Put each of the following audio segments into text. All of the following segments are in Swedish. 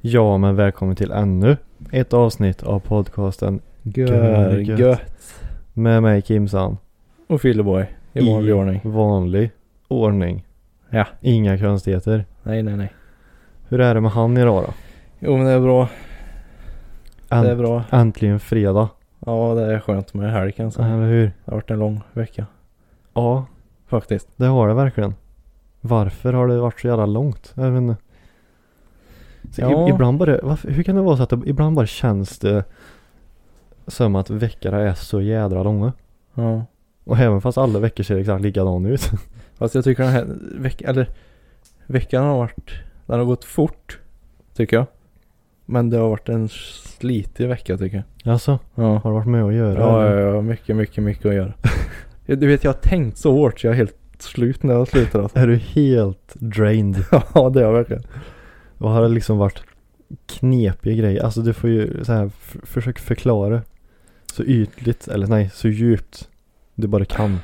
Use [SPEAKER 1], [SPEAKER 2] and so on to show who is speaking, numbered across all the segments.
[SPEAKER 1] Ja, men välkommen till ännu ett avsnitt av podcasten Gör
[SPEAKER 2] Görgött.
[SPEAKER 1] med mig Kimsan.
[SPEAKER 2] Och Filleboy. I vanlig ordning.
[SPEAKER 1] vanlig ordning.
[SPEAKER 2] Ja.
[SPEAKER 1] Inga konstigheter.
[SPEAKER 2] Nej, nej, nej.
[SPEAKER 1] Hur är det med han idag då?
[SPEAKER 2] Jo men det är bra.
[SPEAKER 1] Änt-
[SPEAKER 2] Det är bra.
[SPEAKER 1] Äntligen fredag.
[SPEAKER 2] Ja det är skönt med helg kanske.
[SPEAKER 1] Eller hur?
[SPEAKER 2] Det har varit en lång vecka.
[SPEAKER 1] Ja,
[SPEAKER 2] Faktiskt.
[SPEAKER 1] det har det verkligen. Varför har det varit så jävla långt? Jag vet inte. Så
[SPEAKER 2] Ja.
[SPEAKER 1] i, ibland bara, varför, hur kan det vara så att det, ibland bara känns det som att veckorna är så jädra långa?
[SPEAKER 2] Ja.
[SPEAKER 1] Och även fast alla veckor ser exakt likadana ut.
[SPEAKER 2] Fast jag tycker den här veckan, eller veckan har varit, den har gått fort. Tycker jag. Men det har varit en slitig vecka tycker jag.
[SPEAKER 1] Alltså,
[SPEAKER 2] Ja.
[SPEAKER 1] har du varit med att göra?
[SPEAKER 2] Ja,
[SPEAKER 1] eller?
[SPEAKER 2] ja, ja. Mycket, mycket, mycket att göra. du vet jag har tänkt så hårt så jag är helt slut när jag slutar alltså.
[SPEAKER 1] Är du helt drained?
[SPEAKER 2] Ja det har jag verkligen.
[SPEAKER 1] Vad har det liksom varit knepiga grejer? Alltså du får ju så här, f- försök förklara så ytligt, eller nej, så djupt du bara kan.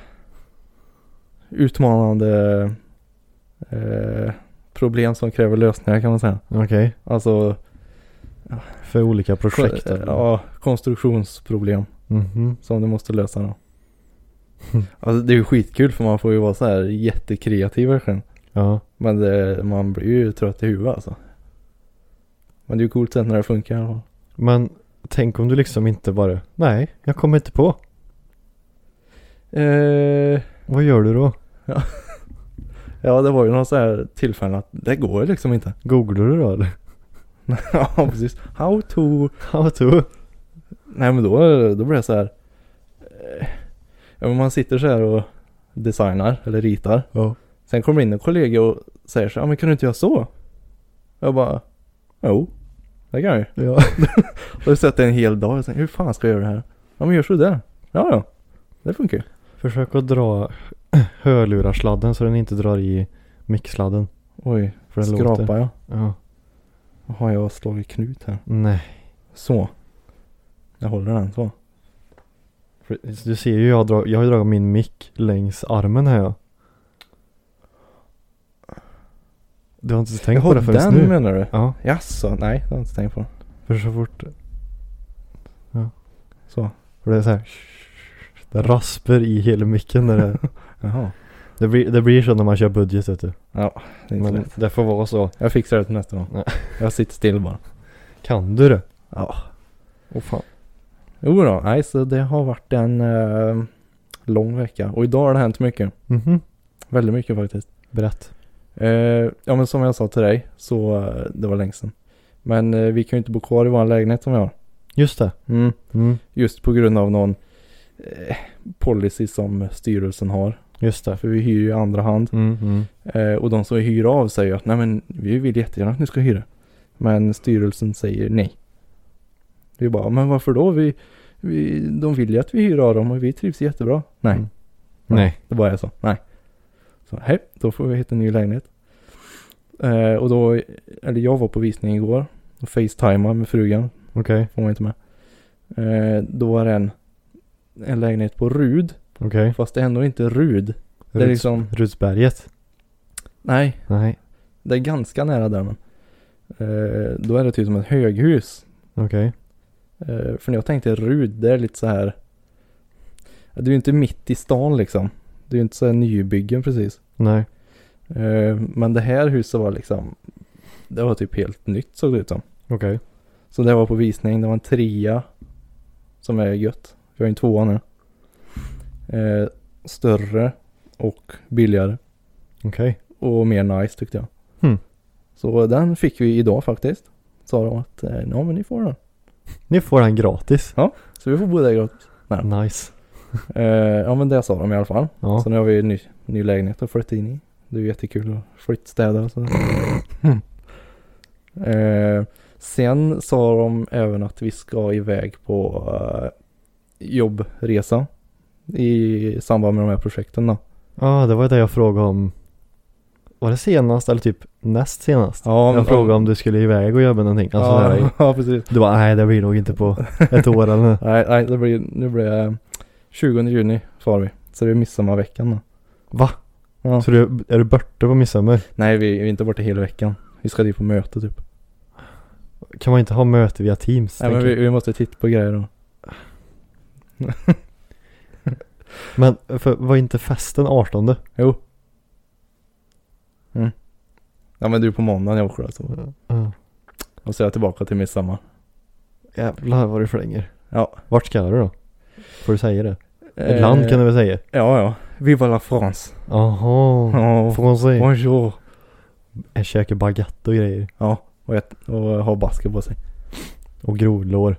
[SPEAKER 2] Utmanande eh, problem som kräver lösningar kan man säga.
[SPEAKER 1] Okej,
[SPEAKER 2] Alltså
[SPEAKER 1] för olika projekt.
[SPEAKER 2] kon-
[SPEAKER 1] eller?
[SPEAKER 2] eh, ja, konstruktionsproblem
[SPEAKER 1] Mhm.
[SPEAKER 2] som du måste lösa då.
[SPEAKER 1] Hm.
[SPEAKER 2] Alltså det är ju skitkul för man får ju vara så här jättekreativ verkligen.
[SPEAKER 1] ja.
[SPEAKER 2] Men det, man blir ju trött i huvudet alltså. Men det är ju coolt sen när det funkar i alla fall.
[SPEAKER 1] Men tänk om du liksom inte bara, nej, jag kommer inte på.
[SPEAKER 2] Eh,
[SPEAKER 1] Vad gör du då?
[SPEAKER 2] ja det var ju några så här tillfällen att det går liksom inte.
[SPEAKER 1] Googlar du då eller?
[SPEAKER 2] ja precis. How to
[SPEAKER 1] How to?
[SPEAKER 2] Nej men då, då blir det så här. eh, Ja, men man sitter så här och designar eller ritar.
[SPEAKER 1] Ja.
[SPEAKER 2] Sen kommer in en kollega och säger så här, ja men kan du inte göra så? Jag bara, jo, det kan jag ju.
[SPEAKER 1] Ja.
[SPEAKER 2] Och då satt jag en hel dag och tänkte, hur fan ska jag göra det här? Ja men gör så där. Ja ja, det funkar ju.
[SPEAKER 1] Försök att dra hörlurar så den inte drar i mixsladden.
[SPEAKER 2] Oj,
[SPEAKER 1] För den låter.
[SPEAKER 2] skrapar jag?
[SPEAKER 1] Ja.
[SPEAKER 2] Har jag slagit knut här?
[SPEAKER 1] Nej.
[SPEAKER 2] Så. Jag håller den så.
[SPEAKER 1] För Du ser ju, jag har, drag, jag har ju dragit min mick längs armen här ja. Du har inte tänkt på
[SPEAKER 2] Jaha,
[SPEAKER 1] det förrän
[SPEAKER 2] den
[SPEAKER 1] nu?
[SPEAKER 2] menar du?
[SPEAKER 1] Ja,
[SPEAKER 2] Jaså, nej det har jag inte tänkt på.
[SPEAKER 1] för så fort,
[SPEAKER 2] Så,
[SPEAKER 1] för det är så här, det rasper i hela micken när det,
[SPEAKER 2] jaha.
[SPEAKER 1] det, blir, det blir så när man kör budget vet du.
[SPEAKER 2] Ja, det är inte
[SPEAKER 1] Men
[SPEAKER 2] lätt.
[SPEAKER 1] det får vara så.
[SPEAKER 2] Jag fixar det till nästa gång.
[SPEAKER 1] Nej.
[SPEAKER 2] Jag sitter still bara.
[SPEAKER 1] Kan du det?
[SPEAKER 2] Ja.
[SPEAKER 1] Åh fan.
[SPEAKER 2] Jo då, nej så det har varit en eh, lång vecka och idag har det hänt mycket.
[SPEAKER 1] Mhm.
[SPEAKER 2] Väldigt mycket faktiskt.
[SPEAKER 1] Berätt.
[SPEAKER 2] Eh, ja men som jag sa till dig så eh, det var länge sedan. Men eh, vi kan ju inte bo kvar i vår lägenhet som vi har.
[SPEAKER 1] Just det.
[SPEAKER 2] Mm.
[SPEAKER 1] Mm.
[SPEAKER 2] Just på grund av någon eh, policy som styrelsen har.
[SPEAKER 1] Just det.
[SPEAKER 2] För vi hyr ju i andra hand.
[SPEAKER 1] Mm, mm.
[SPEAKER 2] Eh, och de som hyr av säger att nej men vi vill jättegärna att ni ska hyra. Men styrelsen säger nej. Vi bara, men varför då? Vi, vi, de vill ju att vi hyr av dem och vi trivs jättebra. Nej,
[SPEAKER 1] Mm. Nej.
[SPEAKER 2] det bara är så. Nej. Så hej, då får vi hitta en ny lägenhet. Eh, och då, eller jag var på visning igår och facetimade med frugan,
[SPEAKER 1] Okej.
[SPEAKER 2] hon var inte med. Eh, då var det en, en lägenhet på Rud,
[SPEAKER 1] Okej.
[SPEAKER 2] fast det är ändå inte Rud. Det
[SPEAKER 1] Ruds-
[SPEAKER 2] är liksom,
[SPEAKER 1] Rudsberget?
[SPEAKER 2] nej,
[SPEAKER 1] Nej.
[SPEAKER 2] Det är ganska nära där men. Eh, då är det typ som ett höghus.
[SPEAKER 1] Okej.
[SPEAKER 2] Eh, för när jag tänkte Rud, det är lite så här. Det är ju inte mitt i stan liksom. Det är ju inte så här nybyggen precis.
[SPEAKER 1] Nej.
[SPEAKER 2] Eh, men det här huset var liksom. Det var typ helt nytt såg det ut som.
[SPEAKER 1] Okej.
[SPEAKER 2] Så det var på visning. Det var en trea. Som är gött. Vi har ju en tvåa nu. Eh, större och billigare.
[SPEAKER 1] Okej.
[SPEAKER 2] och mer nice tyckte jag.
[SPEAKER 1] Hmm.
[SPEAKER 2] Så den fick vi idag faktiskt. Sa de att eh, ja men ni får den.
[SPEAKER 1] Ni får den gratis.
[SPEAKER 2] Så vi får bo där gratis.
[SPEAKER 1] Nice.
[SPEAKER 2] Eh, ja men det sa de i alla fall.
[SPEAKER 1] Ja.
[SPEAKER 2] Så nu har vi en ny, ny lägenhet att flytta in i. Det är ju jättekul att flyttstäda och så.
[SPEAKER 1] Hmm.
[SPEAKER 2] Mm. eh, sen sa de även att vi ska iväg på eh, jobbresa i samband med de här projekten då.
[SPEAKER 1] Ja, det var ju det jag frågade om. Var det senast eller typ näst senast?
[SPEAKER 2] Ja,
[SPEAKER 1] jag frågade om du skulle iväg och jobba någonting. Alltså, så här,
[SPEAKER 2] ja, ja, precis.
[SPEAKER 1] du bara, nej det blir nog inte på ett år eller
[SPEAKER 2] Nej, nej det blir, nu blir det 20 juni far vi. Så det är midsommarveckan då.
[SPEAKER 1] Va?
[SPEAKER 2] Ja.
[SPEAKER 1] Så du, är du borta på midsommar?
[SPEAKER 2] Nej, vi vi är inte borta hela veckan. Vi ska dit på möte typ.
[SPEAKER 1] Kan man inte ha möte via Teams?
[SPEAKER 2] Nej, men
[SPEAKER 1] tänker
[SPEAKER 2] vi, vi måste titta på grejer då.
[SPEAKER 1] jag? men för, var inte festen 18?
[SPEAKER 2] Jo. Mm. Ja men du på måndagen jag åker alltså.
[SPEAKER 1] Ja.
[SPEAKER 2] Och så är jag tillbaka till midsommar.
[SPEAKER 1] Jävlar vad du förlänger.
[SPEAKER 2] Ja.
[SPEAKER 1] Vart ska du då? Får du säga det?
[SPEAKER 2] Eh,
[SPEAKER 1] Ett land kan du väl säga?
[SPEAKER 2] Ja ja. Viva la France.
[SPEAKER 1] Jaha.
[SPEAKER 2] Ja.
[SPEAKER 1] Får man säga?
[SPEAKER 2] Bonjour.
[SPEAKER 1] Jag käkar baguette och grejer.
[SPEAKER 2] Ja. Och, jag, och har basker på sig.
[SPEAKER 1] Och grovlår.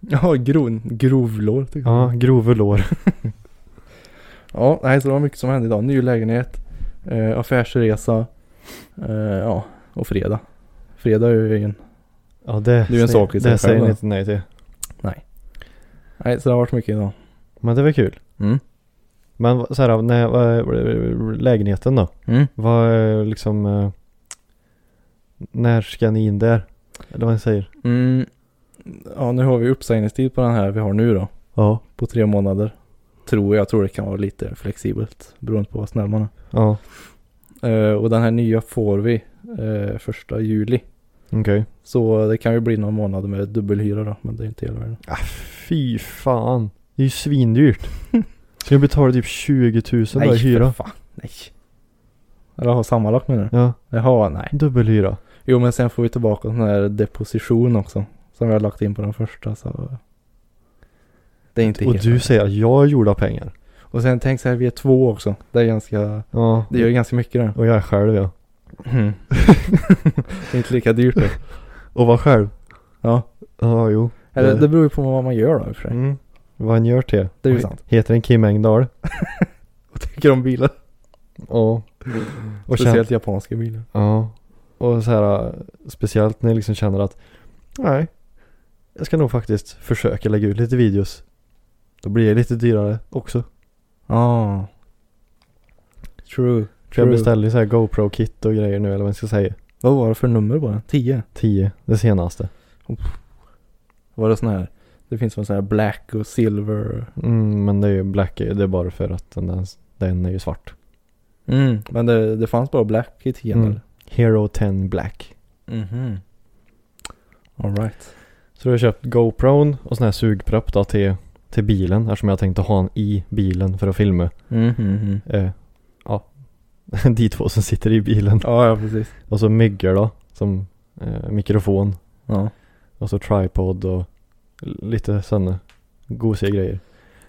[SPEAKER 2] Ja gron, grovlår tycker jag.
[SPEAKER 1] Ja, grovlår.
[SPEAKER 2] Ja nej så det var mycket som hände idag. Ny lägenhet. Eh, affärsresa. Eh, ja. Och fredag. Fredag är ju ingen.
[SPEAKER 1] Ja det,
[SPEAKER 2] Det är ju en
[SPEAKER 1] säger-
[SPEAKER 2] sak i sig
[SPEAKER 1] Det säger
[SPEAKER 2] själv,
[SPEAKER 1] ni
[SPEAKER 2] då.
[SPEAKER 1] inte nej till.
[SPEAKER 2] Nej så det har varit mycket idag.
[SPEAKER 1] Men det var kul.
[SPEAKER 2] Mm.
[SPEAKER 1] Men vad- så här, när, vad- lägenheten då?
[SPEAKER 2] Mm.
[SPEAKER 1] Vad eh, liksom eh, När ska ni in där? Eller vad ni säger?
[SPEAKER 2] Mm. Ja nu har vi uppsägningstid på den här vi har nu då.
[SPEAKER 1] Ja.
[SPEAKER 2] på tre månader. Tror jag, jag tror det kan vara lite flexibelt beroende på vad snäll man är.
[SPEAKER 1] Ja.
[SPEAKER 2] Eh, och den här nya får vi eh, första juli.
[SPEAKER 1] Okej.
[SPEAKER 2] Så det kan ju bli någon månad med dubbelhyra då, men det är inte hela världen.
[SPEAKER 1] Ah, fy fan. Det är ju svindyrt. Ska du betala typ 20 000 då i hyra?
[SPEAKER 2] för fan, nej. Eller ha sammanlagt menar du?
[SPEAKER 1] Ja.
[SPEAKER 2] Jaha, nej.
[SPEAKER 1] Dubbelhyra.
[SPEAKER 2] Jo men sen får vi tillbaka den här deposition också. Som vi har lagt in på den första så. Det är inte
[SPEAKER 1] Och
[SPEAKER 2] helt
[SPEAKER 1] du
[SPEAKER 2] rätt.
[SPEAKER 1] säger att jag är gjord av pengar.
[SPEAKER 2] Och sen tänk så här, vi är två också. Det är ganska,
[SPEAKER 1] Ja.
[SPEAKER 2] det gör ganska mycket det.
[SPEAKER 1] Och jag är själv ja.
[SPEAKER 2] Mm. det är inte lika dyrt då.
[SPEAKER 1] Och var själv?
[SPEAKER 2] Ja.
[SPEAKER 1] Ja, jo.
[SPEAKER 2] Eller
[SPEAKER 1] Det-
[SPEAKER 2] det beror ju på vad man gör då i och för sig.
[SPEAKER 1] Mm. Vad han gör till.
[SPEAKER 2] Det är ju sant.
[SPEAKER 1] Heter den Kim Engdahl?
[SPEAKER 2] Vad tycker om bilar?
[SPEAKER 1] Ja. Och känner-
[SPEAKER 2] Speciellt japanska bilar.
[SPEAKER 1] Ja. Och så här äh, speciellt när jag liksom känner att nej, jag ska nog faktiskt försöka lägga ut lite videos. Då blir det lite dyrare också.
[SPEAKER 2] Ah. True.
[SPEAKER 1] För jag
[SPEAKER 2] True.
[SPEAKER 1] beställde ju så här GoPro-kit och grejer nu eller vad man ska säga.
[SPEAKER 2] Vad var det för nummer på den? 10?
[SPEAKER 1] 10, det senaste.
[SPEAKER 2] Var det sån här? Det finns väl sån här black och silver?
[SPEAKER 1] Mm, men det är ju black, det är bara för att den, där- den är ju svart.
[SPEAKER 2] Mm. Men det, det fanns bara black i 10
[SPEAKER 1] Mm.
[SPEAKER 2] eller?
[SPEAKER 1] Hero 10 Black.
[SPEAKER 2] Mhm. Alright.
[SPEAKER 1] Så då har jag köpt GoPron och sån här sugpropp då till, till bilen eftersom jag tänkte ha en i bilen för att filma.
[SPEAKER 2] Mhm.
[SPEAKER 1] Eh, ja, de två som sitter i bilen.
[SPEAKER 2] Ja, ja precis.
[SPEAKER 1] Och så myggor då, som eh, mikrofon.
[SPEAKER 2] Ja.
[SPEAKER 1] Och så tripod och lite sådana gosiga grejer.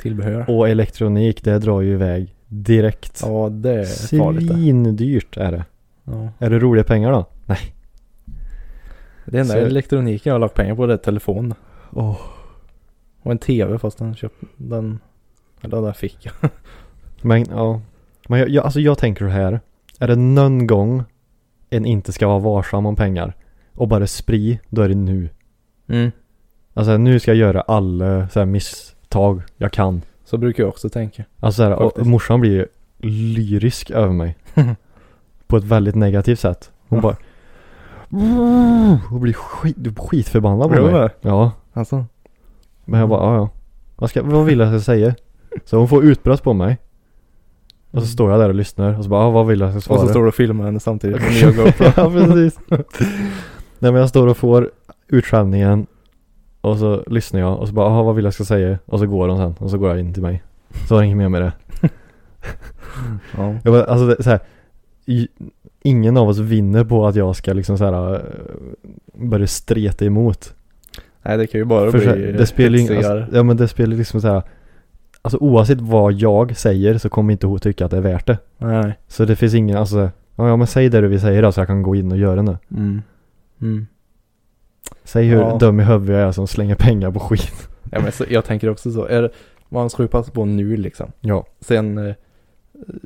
[SPEAKER 2] Tillbehör.
[SPEAKER 1] Och elektronik, det drar ju iväg direkt.
[SPEAKER 2] Ja, det är farligt det.
[SPEAKER 1] Svindyrt är det.
[SPEAKER 2] Ja.
[SPEAKER 1] Är det roliga pengar då? Nej.
[SPEAKER 2] Det enda
[SPEAKER 1] Så-
[SPEAKER 2] elektroniken jag har lagt pengar på det är telefon.
[SPEAKER 1] Åh.
[SPEAKER 2] Och en tv fast den köpte den. Eller den fick jag.
[SPEAKER 1] Men ja. Men jag, jag, alltså jag tänker så här. Är det någon gång en inte ska vara varsam om pengar och bara spri, då är det nu.
[SPEAKER 2] Mm.
[SPEAKER 1] Alltså nu ska jag göra alla så här, misstag jag kan.
[SPEAKER 2] Så brukar jag också tänka.
[SPEAKER 1] Alltså såhär, och
[SPEAKER 2] Faktiskt.
[SPEAKER 1] morsan blir ju lyrisk över mig. på ett väldigt negativt sätt. Hon bara Hon blir skit, skitförbannad
[SPEAKER 2] Blir
[SPEAKER 1] på
[SPEAKER 2] hon
[SPEAKER 1] mig.
[SPEAKER 2] det?
[SPEAKER 1] Ja.
[SPEAKER 2] Alltså?
[SPEAKER 1] Men jag bara, ja ja. Vad, ska, vad vill jag att jag säger? Så hon får utbrott på mig. Och så står jag där och lyssnar och så bara, ah, vad vill jag att jag ska
[SPEAKER 2] Och så
[SPEAKER 1] svara?
[SPEAKER 2] står du och filmar henne samtidigt med nya GoPro.
[SPEAKER 1] ja precis. Nej men jag står och får utskällningen. Och så lyssnar jag och så bara, ah, vad vill jag ska säga? Och så går hon sen och så går jag in till mig. Så var det inget mer med det.
[SPEAKER 2] ja.
[SPEAKER 1] Jag bara, alltså det, så här, i- ingen av oss vinner på att jag ska liksom så här eh, börja streta emot.
[SPEAKER 2] Nej det kan ju bara
[SPEAKER 1] För så här,
[SPEAKER 2] bli
[SPEAKER 1] det spelar ju ingen,
[SPEAKER 2] hetsigare.
[SPEAKER 1] alltså, ja men det spelar liksom så här, alltså oavsett vad jag säger så kommer inte hon tycka att det är värt det.
[SPEAKER 2] Nej.
[SPEAKER 1] Så det finns ingen, alltså, ja ja, men säg det du vill säga då så jag kan gå in och göra det.
[SPEAKER 2] Mm. Mm.
[SPEAKER 1] Säg hur
[SPEAKER 2] Ja.
[SPEAKER 1] dum i huvudet jag är som slänger pengar på skit.
[SPEAKER 2] Ja, men så, jag tänker också så. Är det, man ska ju passa på nu liksom.
[SPEAKER 1] Ja.
[SPEAKER 2] Sen eh,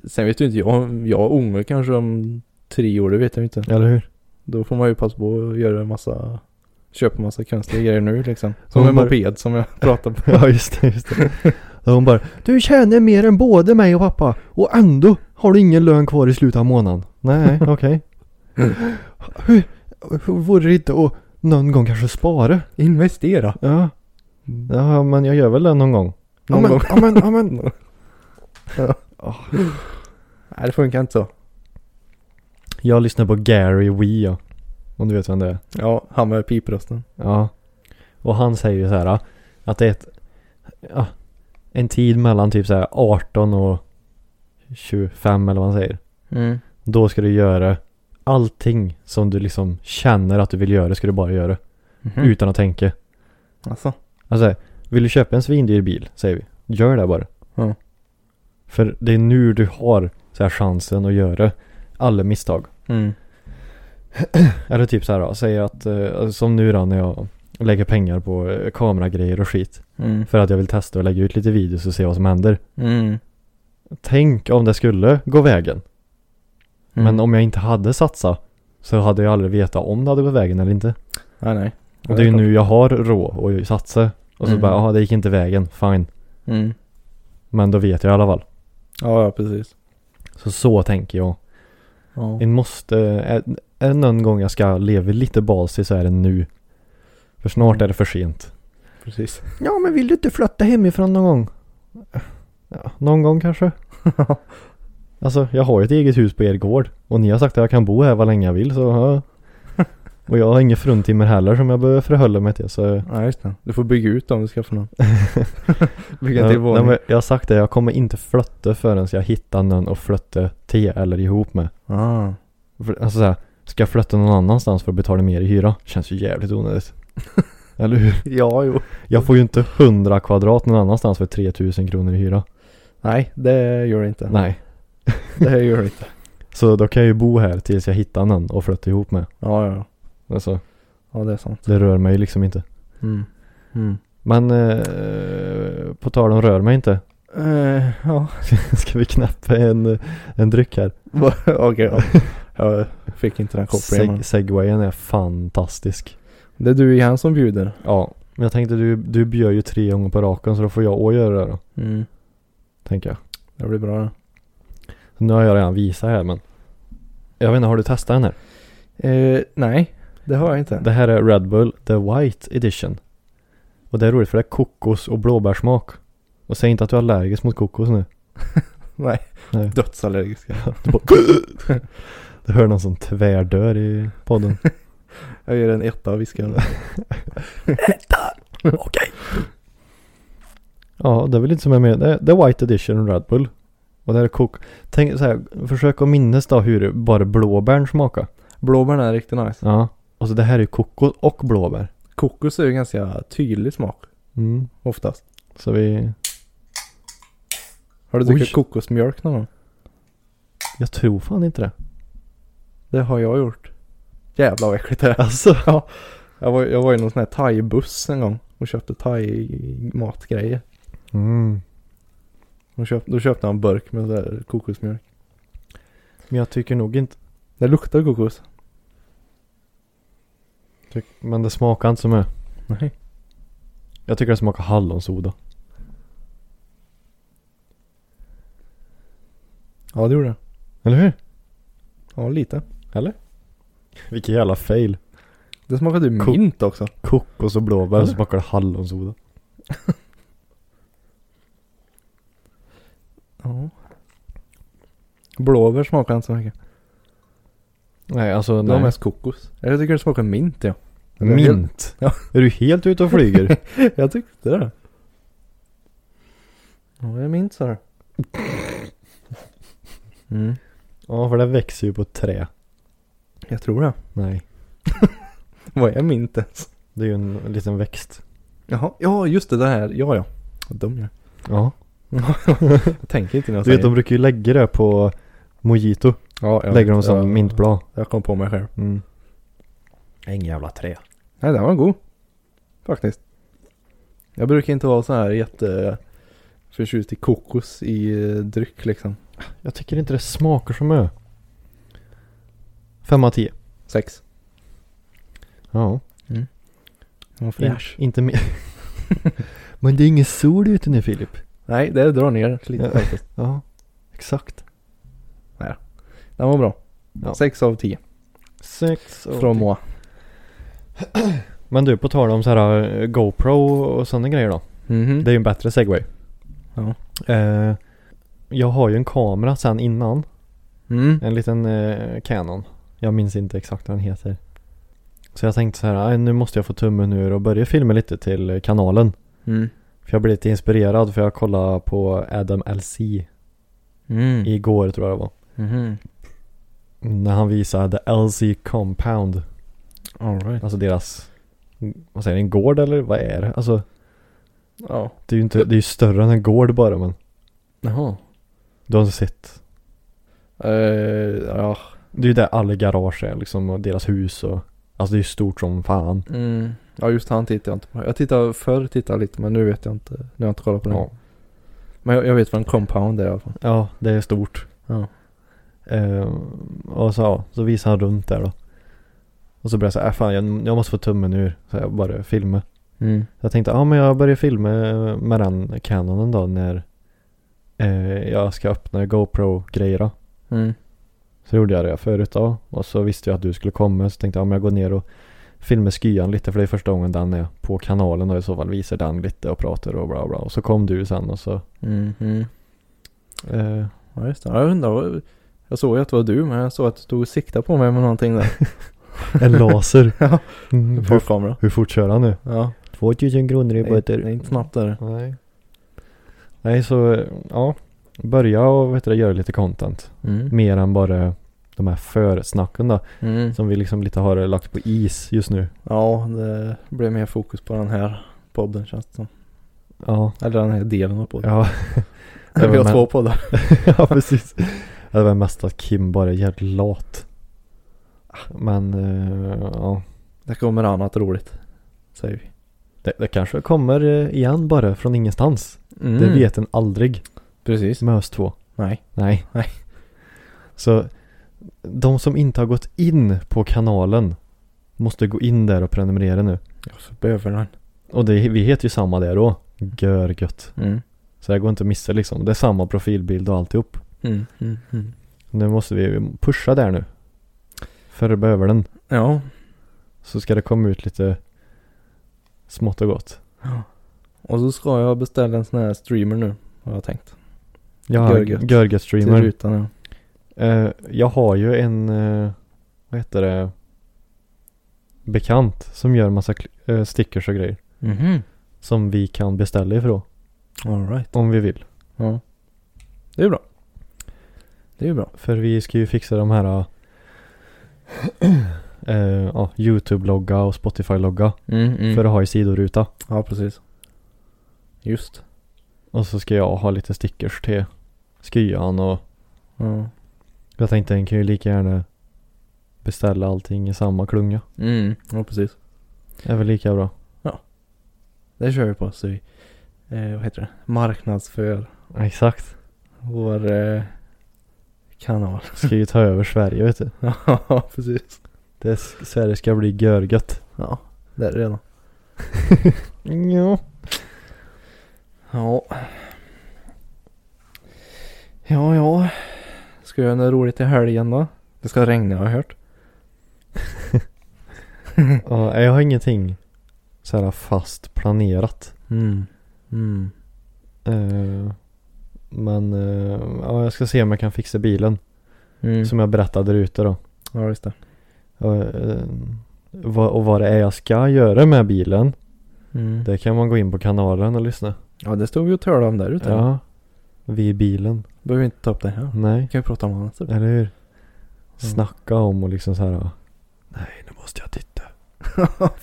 [SPEAKER 2] Sen vet ju inte jag, jag ångrar kanske om tre år, det vet jag inte.
[SPEAKER 1] Eller hur?
[SPEAKER 2] Då får man ju passa på att göra en massa, köpa en massa konstiga grejer nu liksom. Som
[SPEAKER 1] Hon
[SPEAKER 2] en
[SPEAKER 1] bara-
[SPEAKER 2] moped som jag pratade på.
[SPEAKER 1] Ja just det, just det. Och hon bara Du tjänar mer än både mig och pappa och ändå har du ingen lön kvar i slutet av månaden. Nej, okej. Hur, hur vore det inte att någon gång kanske spara?
[SPEAKER 2] Investera.
[SPEAKER 1] Ja. ja, men jag gör väl det någon gång. Ja,
[SPEAKER 2] Någon
[SPEAKER 1] men-
[SPEAKER 2] gång.
[SPEAKER 1] Ja men, ja men.
[SPEAKER 2] Ah. Nej det funkar inte så.
[SPEAKER 1] Jag lyssnar på Gary Wee ja. Om du vet vem det är.
[SPEAKER 2] Ja, han med piprösten.
[SPEAKER 1] Ja. Och han säger ju så här ah, att det är ett, ja, en tid mellan typ så här 18 och 25 eller vad han säger.
[SPEAKER 2] Mm.
[SPEAKER 1] Då ska du göra allting som du liksom känner att du vill göra ska du bara göra.
[SPEAKER 2] Mhm.
[SPEAKER 1] Utan att tänka.
[SPEAKER 2] Alltså.
[SPEAKER 1] Alltså, vill du köpa en svindyr bil, säger vi. Gör det bara.
[SPEAKER 2] Ja.
[SPEAKER 1] För det är nu du har så här chansen att göra alla misstag.
[SPEAKER 2] Mm.
[SPEAKER 1] Eller typ så här då, säg att, eh, som nu då när jag lägger pengar på eh, kameragrejer och skit.
[SPEAKER 2] Mm.
[SPEAKER 1] För att jag vill testa och lägga ut lite videos och se vad som händer.
[SPEAKER 2] Mm.
[SPEAKER 1] Tänk om det skulle gå vägen.
[SPEAKER 2] Mm.
[SPEAKER 1] Men om jag inte hade satsat så hade jag aldrig vetat om det hade gått vägen eller inte.
[SPEAKER 2] Nej nej.
[SPEAKER 1] Och det är ju nu jag har rå och satsa. Och så
[SPEAKER 2] Mm.
[SPEAKER 1] bara, jaha det gick inte vägen, fine.
[SPEAKER 2] Mm.
[SPEAKER 1] Men då vet jag i alla fall.
[SPEAKER 2] Ja, ja precis.
[SPEAKER 1] Så så tänker jag.
[SPEAKER 2] Ja.
[SPEAKER 1] En måste, är, är det någon gång jag ska leva lite basig så är det nu. För snart är det för sent.
[SPEAKER 2] Precis.
[SPEAKER 1] Mm. Ja men vill du inte flytta hemifrån någon gång? Ja, någon gång kanske. alltså jag har ju ett eget hus på er gård. Och ni har sagt att jag kan bo här vad länge jag vill så ja. Och jag har inga fruntimmer heller som jag behöver förhålla mig till så.
[SPEAKER 2] Nej just det. Du får bygga ut om du skaffar någon. Bygga en
[SPEAKER 1] Nej,
[SPEAKER 2] till
[SPEAKER 1] nej, men
[SPEAKER 2] våning.
[SPEAKER 1] jag har sagt det, jag kommer inte flytta förrän jag hittar någon att flytta till eller ihop med.
[SPEAKER 2] Ah.
[SPEAKER 1] För- Alltså såhär, ska jag flytta någon annanstans för att betala mer i hyra? Känns ju jävligt onödigt. Eller hur?
[SPEAKER 2] Ja jo.
[SPEAKER 1] Jag får ju inte 100 kvadrat någon annanstans för 3000 kronor i hyra.
[SPEAKER 2] Nej det gör det inte.
[SPEAKER 1] Nej.
[SPEAKER 2] Det gör det inte.
[SPEAKER 1] Så då kan jag ju bo här tills jag hittar någon och flytta ihop med.
[SPEAKER 2] Ja ja.
[SPEAKER 1] Alltså,
[SPEAKER 2] Ja det är sant.
[SPEAKER 1] det rör mig liksom inte.
[SPEAKER 2] Mm. Mm.
[SPEAKER 1] Men eh, på tal om rör mig inte.
[SPEAKER 2] Eh, ja.
[SPEAKER 1] Ska vi knäppa en, en dryck här?
[SPEAKER 2] Va- Okej ja. Jag fick inte den kopplingen. men-
[SPEAKER 1] Seg- segwayen är fantastisk.
[SPEAKER 2] Det är du igen som bjuder.
[SPEAKER 1] Ja, men jag tänkte du, du bjöd ju tre gånger på raken så då får jag också göra det då,
[SPEAKER 2] Mm.
[SPEAKER 1] tänker jag.
[SPEAKER 2] Det blir bra det.
[SPEAKER 1] Så nu har jag redan visat här men Jag vet inte, har du testat den här?
[SPEAKER 2] Eh, nej. Det har jag inte.
[SPEAKER 1] Det här är Red Bull The White Edition Och det är roligt för det är kokos och blåbärssmak Och säg inte att du är allergisk mot kokos nu
[SPEAKER 2] Nej.
[SPEAKER 1] Nej.
[SPEAKER 2] Dödsallergiska.
[SPEAKER 1] Du bara Du hör någon som tvärdör i podden
[SPEAKER 2] Jag ger en etta och viskar.
[SPEAKER 1] Ja, det är väl inte som jag menar. Det är- Det är White Edition Red Bull Och det här är kok... Tänk så här, försök att minnas då hur bara blåbären smakar
[SPEAKER 2] Blåbären är riktigt nice.
[SPEAKER 1] Ja Och så Alltså, det här är ju kokos och blåbär
[SPEAKER 2] Kokos är ju ganska tydlig smak.
[SPEAKER 1] Mm,
[SPEAKER 2] Oftast.
[SPEAKER 1] så vi,
[SPEAKER 2] Har du
[SPEAKER 1] Oj.
[SPEAKER 2] druckit kokosmjölk någon gång?
[SPEAKER 1] jag tror fan inte det.
[SPEAKER 2] Det har jag gjort. Jävlar vad äckligt det är.
[SPEAKER 1] Alltså?
[SPEAKER 2] Ja. Jag var, jag var i någon sån här thai-buss en gång och köpte thai-matgrejer.
[SPEAKER 1] Mm.
[SPEAKER 2] Då, köp, då köpte jag en burk med så här kokosmjölk.
[SPEAKER 1] Men jag tycker nog inte,
[SPEAKER 2] Det luktar kokos.
[SPEAKER 1] tyck, men det smakar inte så mycket.
[SPEAKER 2] Nej.
[SPEAKER 1] Jag tycker det smakar hallonsoda.
[SPEAKER 2] Ja det gjorde det.
[SPEAKER 1] Eller hur?
[SPEAKER 2] Ja lite.
[SPEAKER 1] Vilken jävla fail.
[SPEAKER 2] Det smakade ju
[SPEAKER 1] Ko-
[SPEAKER 2] mint också.
[SPEAKER 1] Kokos och blåbär och så
[SPEAKER 2] Eller?
[SPEAKER 1] smakar det hallonsoda.
[SPEAKER 2] Ja. Blåbär smakar inte så mycket.
[SPEAKER 1] Nej, alltså
[SPEAKER 2] Det var
[SPEAKER 1] nej.
[SPEAKER 2] mest kokos. Jag tycker det smakar mint ja.
[SPEAKER 1] Mint.
[SPEAKER 2] Ja.
[SPEAKER 1] Är du helt ute och flyger?
[SPEAKER 2] Jag tyckte det. Ja det är mint sa du. Mm.
[SPEAKER 1] ja, för det växer ju på trä.
[SPEAKER 2] Jag tror det.
[SPEAKER 1] Nej.
[SPEAKER 2] Vad är mint ens?
[SPEAKER 1] Det är ju en liten växt.
[SPEAKER 2] Jaha, ja just det, det här, ja ja. Vad dum jag är.
[SPEAKER 1] Ja.
[SPEAKER 2] Jag tänker inte när jag
[SPEAKER 1] Du vet,
[SPEAKER 2] säger
[SPEAKER 1] de brukar ju lägga det på mojito.
[SPEAKER 2] ja, jag
[SPEAKER 1] lägger
[SPEAKER 2] vet.
[SPEAKER 1] de som
[SPEAKER 2] jag,
[SPEAKER 1] mintblad.
[SPEAKER 2] Jag kom på mig själv.
[SPEAKER 1] Mm. Ingen jävla trä.
[SPEAKER 2] Nej, den var god. Faktiskt. Jag brukar inte vara så här jätte förtjust i kokos i eh, dryck liksom.
[SPEAKER 1] Jag tycker inte det smakar som ö. Fem av tio.
[SPEAKER 2] Sex.
[SPEAKER 1] Ja.
[SPEAKER 2] Den var
[SPEAKER 1] In,
[SPEAKER 2] fräsch.
[SPEAKER 1] inte mer. Men det är ingen sol ute nu Filip.
[SPEAKER 2] Nej, det drar ner lite
[SPEAKER 1] Ja.
[SPEAKER 2] faktiskt.
[SPEAKER 1] Ja, exakt.
[SPEAKER 2] Den var bra.
[SPEAKER 1] Ja.
[SPEAKER 2] Sex av tio.
[SPEAKER 1] Sex och
[SPEAKER 2] Från Moa.
[SPEAKER 1] Men du, på tal om så här eh, GoPro och sådana grejer då.
[SPEAKER 2] Mhm.
[SPEAKER 1] Det är ju en bättre segway.
[SPEAKER 2] Ja.
[SPEAKER 1] Eh, jag har ju en kamera sen innan.
[SPEAKER 2] Mm.
[SPEAKER 1] En liten eh, Canon. Jag minns inte exakt vad den heter. Så jag tänkte så här, "Aj, nu måste jag få tummen ur och börja filma lite till kanalen.
[SPEAKER 2] Mm.
[SPEAKER 1] För jag blev lite inspirerad för jag kollade på Adam LC
[SPEAKER 2] Mm.
[SPEAKER 1] igår tror jag det var.
[SPEAKER 2] Mhm.
[SPEAKER 1] När han visade LC Compound.
[SPEAKER 2] Alright.
[SPEAKER 1] Alltså deras, vad säger ni, en gård eller vad är det? Alltså
[SPEAKER 2] Ja.
[SPEAKER 1] det är ju inte, det är ju större än en gård bara men.
[SPEAKER 2] Jaha.
[SPEAKER 1] Du har inte sett.
[SPEAKER 2] Eh, ja.
[SPEAKER 1] Det är ju där alla garage är liksom och deras hus och. Alltså det är ju stort som fan.
[SPEAKER 2] Mm. Ja just han tittar jag inte på. Jag tittade förr tittade jag lite men nu vet jag inte. Nu har jag inte kollat på den.
[SPEAKER 1] Ja.
[SPEAKER 2] Men jag, jag vet vad en compound är i alla fall.
[SPEAKER 1] Ja, det är stort.
[SPEAKER 2] Ja.
[SPEAKER 1] Ehm, och så, ja, så visade han runt där då. Och så blev jag så här, "Äh, fan jag, jag måste få tummen ur. Så jag bara filma.
[SPEAKER 2] Mm.
[SPEAKER 1] Jag tänkte, ja ah, men jag börjar filma eh, med den Canonen då när eh, jag ska öppna GoPro-grejer då.
[SPEAKER 2] Mm.
[SPEAKER 1] Så gjorde jag det förut då. Och så visste jag att du skulle komma. Så tänkte jag, ja men jag går ner och filmar skyan lite. För det är första gången den är på kanalen och i så fall visar den lite och pratar och bla bla. Och så kom du sen och så.
[SPEAKER 2] Mm. Mm.
[SPEAKER 1] Eh,
[SPEAKER 2] Ja just det. Ja, jag undrar. vad- Jag såg ju att det var du men jag såg att du tog sikta på mig med någonting där.
[SPEAKER 1] en laser.
[SPEAKER 2] Ja.
[SPEAKER 1] Mm,
[SPEAKER 2] På
[SPEAKER 1] hur,
[SPEAKER 2] kamera.
[SPEAKER 1] hur fort kör han nu?
[SPEAKER 2] Ja.
[SPEAKER 1] 2000 kronor i
[SPEAKER 2] Det är, det är inte snabbt där.
[SPEAKER 1] Nej. Nej, så ja. Börja och vet du, göra lite content.
[SPEAKER 2] Mm.
[SPEAKER 1] Mer än bara de här försnacken då.
[SPEAKER 2] Mm.
[SPEAKER 1] Som vi liksom lite har lagt på is just nu.
[SPEAKER 2] Ja det blev mer fokus på den här podden känns det som.
[SPEAKER 1] Ja.
[SPEAKER 2] Eller den här delen av podden.
[SPEAKER 1] Ja,
[SPEAKER 2] Vi har
[SPEAKER 1] men-
[SPEAKER 2] två poddar.
[SPEAKER 1] ja precis. Ja, Det var mest att Kim bara är jävligt lat. Men eh, ja.
[SPEAKER 2] Det kommer annat roligt. Säger vi.
[SPEAKER 1] Det, det kanske kommer eh, igen bara från ingenstans.
[SPEAKER 2] Mm.
[SPEAKER 1] Det vet en aldrig.
[SPEAKER 2] Precis.
[SPEAKER 1] Mös två.
[SPEAKER 2] Nej.
[SPEAKER 1] Nej.
[SPEAKER 2] Nej.
[SPEAKER 1] Så de som inte har gått in på kanalen måste gå in där och prenumerera nu.
[SPEAKER 2] Jag så behöver den.
[SPEAKER 1] Och det, vi heter ju samma där då. Görgött.
[SPEAKER 2] Mm.
[SPEAKER 1] Så det går inte att missa liksom. Det är samma profilbild och alltihop.
[SPEAKER 2] Mm. Mm. Mm.
[SPEAKER 1] Nu måste vi pusha där nu. För det behöver den.
[SPEAKER 2] Ja.
[SPEAKER 1] Så ska det komma ut lite smått och gott.
[SPEAKER 2] Och så ska jag beställa en sån här streamer nu. Har jag tänkt.
[SPEAKER 1] Ja,
[SPEAKER 2] Görgött.
[SPEAKER 1] Görgött
[SPEAKER 2] Till
[SPEAKER 1] streamer.
[SPEAKER 2] rutan ja.
[SPEAKER 1] Eh, jag har ju en, eh, vad heter det, bekant som gör massa kl- eh, stickers och grejer.
[SPEAKER 2] Mhm.
[SPEAKER 1] som vi kan beställa ifrån
[SPEAKER 2] Alright.
[SPEAKER 1] om vi vill.
[SPEAKER 2] Ja. Det är bra. Det är bra.
[SPEAKER 1] För vi ska ju fixa de här eh, ja, YouTube-logga och Spotify-logga
[SPEAKER 2] Mm,
[SPEAKER 1] för att ha i sidoruta.
[SPEAKER 2] Ja precis. Just.
[SPEAKER 1] Och så ska jag ha lite stickers till skyan och
[SPEAKER 2] Ja.
[SPEAKER 1] jag tänkte en kan ju lika gärna beställa allting i samma klunga.
[SPEAKER 2] Mm. Ja precis.
[SPEAKER 1] Det är väl lika bra.
[SPEAKER 2] Det kör vi på. Så vi, eh, vad heter det? Marknadsför
[SPEAKER 1] Exakt.
[SPEAKER 2] vår eh, kanal.
[SPEAKER 1] Ska ju ta över Sverige vet du.
[SPEAKER 2] Ja precis.
[SPEAKER 1] Det, s- Sverige ska bli görgött.
[SPEAKER 2] Ja. Det är det redan.
[SPEAKER 1] Ja.
[SPEAKER 2] Ja. Ja, ja. Ska jag göra något roligt i helgen då? Det ska regna har jag hört.
[SPEAKER 1] ja. Jag har ingenting så här fast planerat.
[SPEAKER 2] Mm. Mm.
[SPEAKER 1] Eh, men eh, ja, jag ska se om jag kan fixa bilen.
[SPEAKER 2] mm.
[SPEAKER 1] Som jag berättade där ute då.
[SPEAKER 2] Ja, just det.
[SPEAKER 1] Och, eh, vad, och vad det är jag ska göra med bilen.
[SPEAKER 2] Mm.
[SPEAKER 1] Det kan man gå in på kanalen och lyssna.
[SPEAKER 2] Ja, det stod vi och talade om där ute.
[SPEAKER 1] Ja. Vi i bilen.
[SPEAKER 2] Behöver vi inte ta upp det här.
[SPEAKER 1] Nej.
[SPEAKER 2] Vi kan ju prata om annat.
[SPEAKER 1] Eller hur? Snacka om och liksom så här. ja. Nej, nu måste jag titta.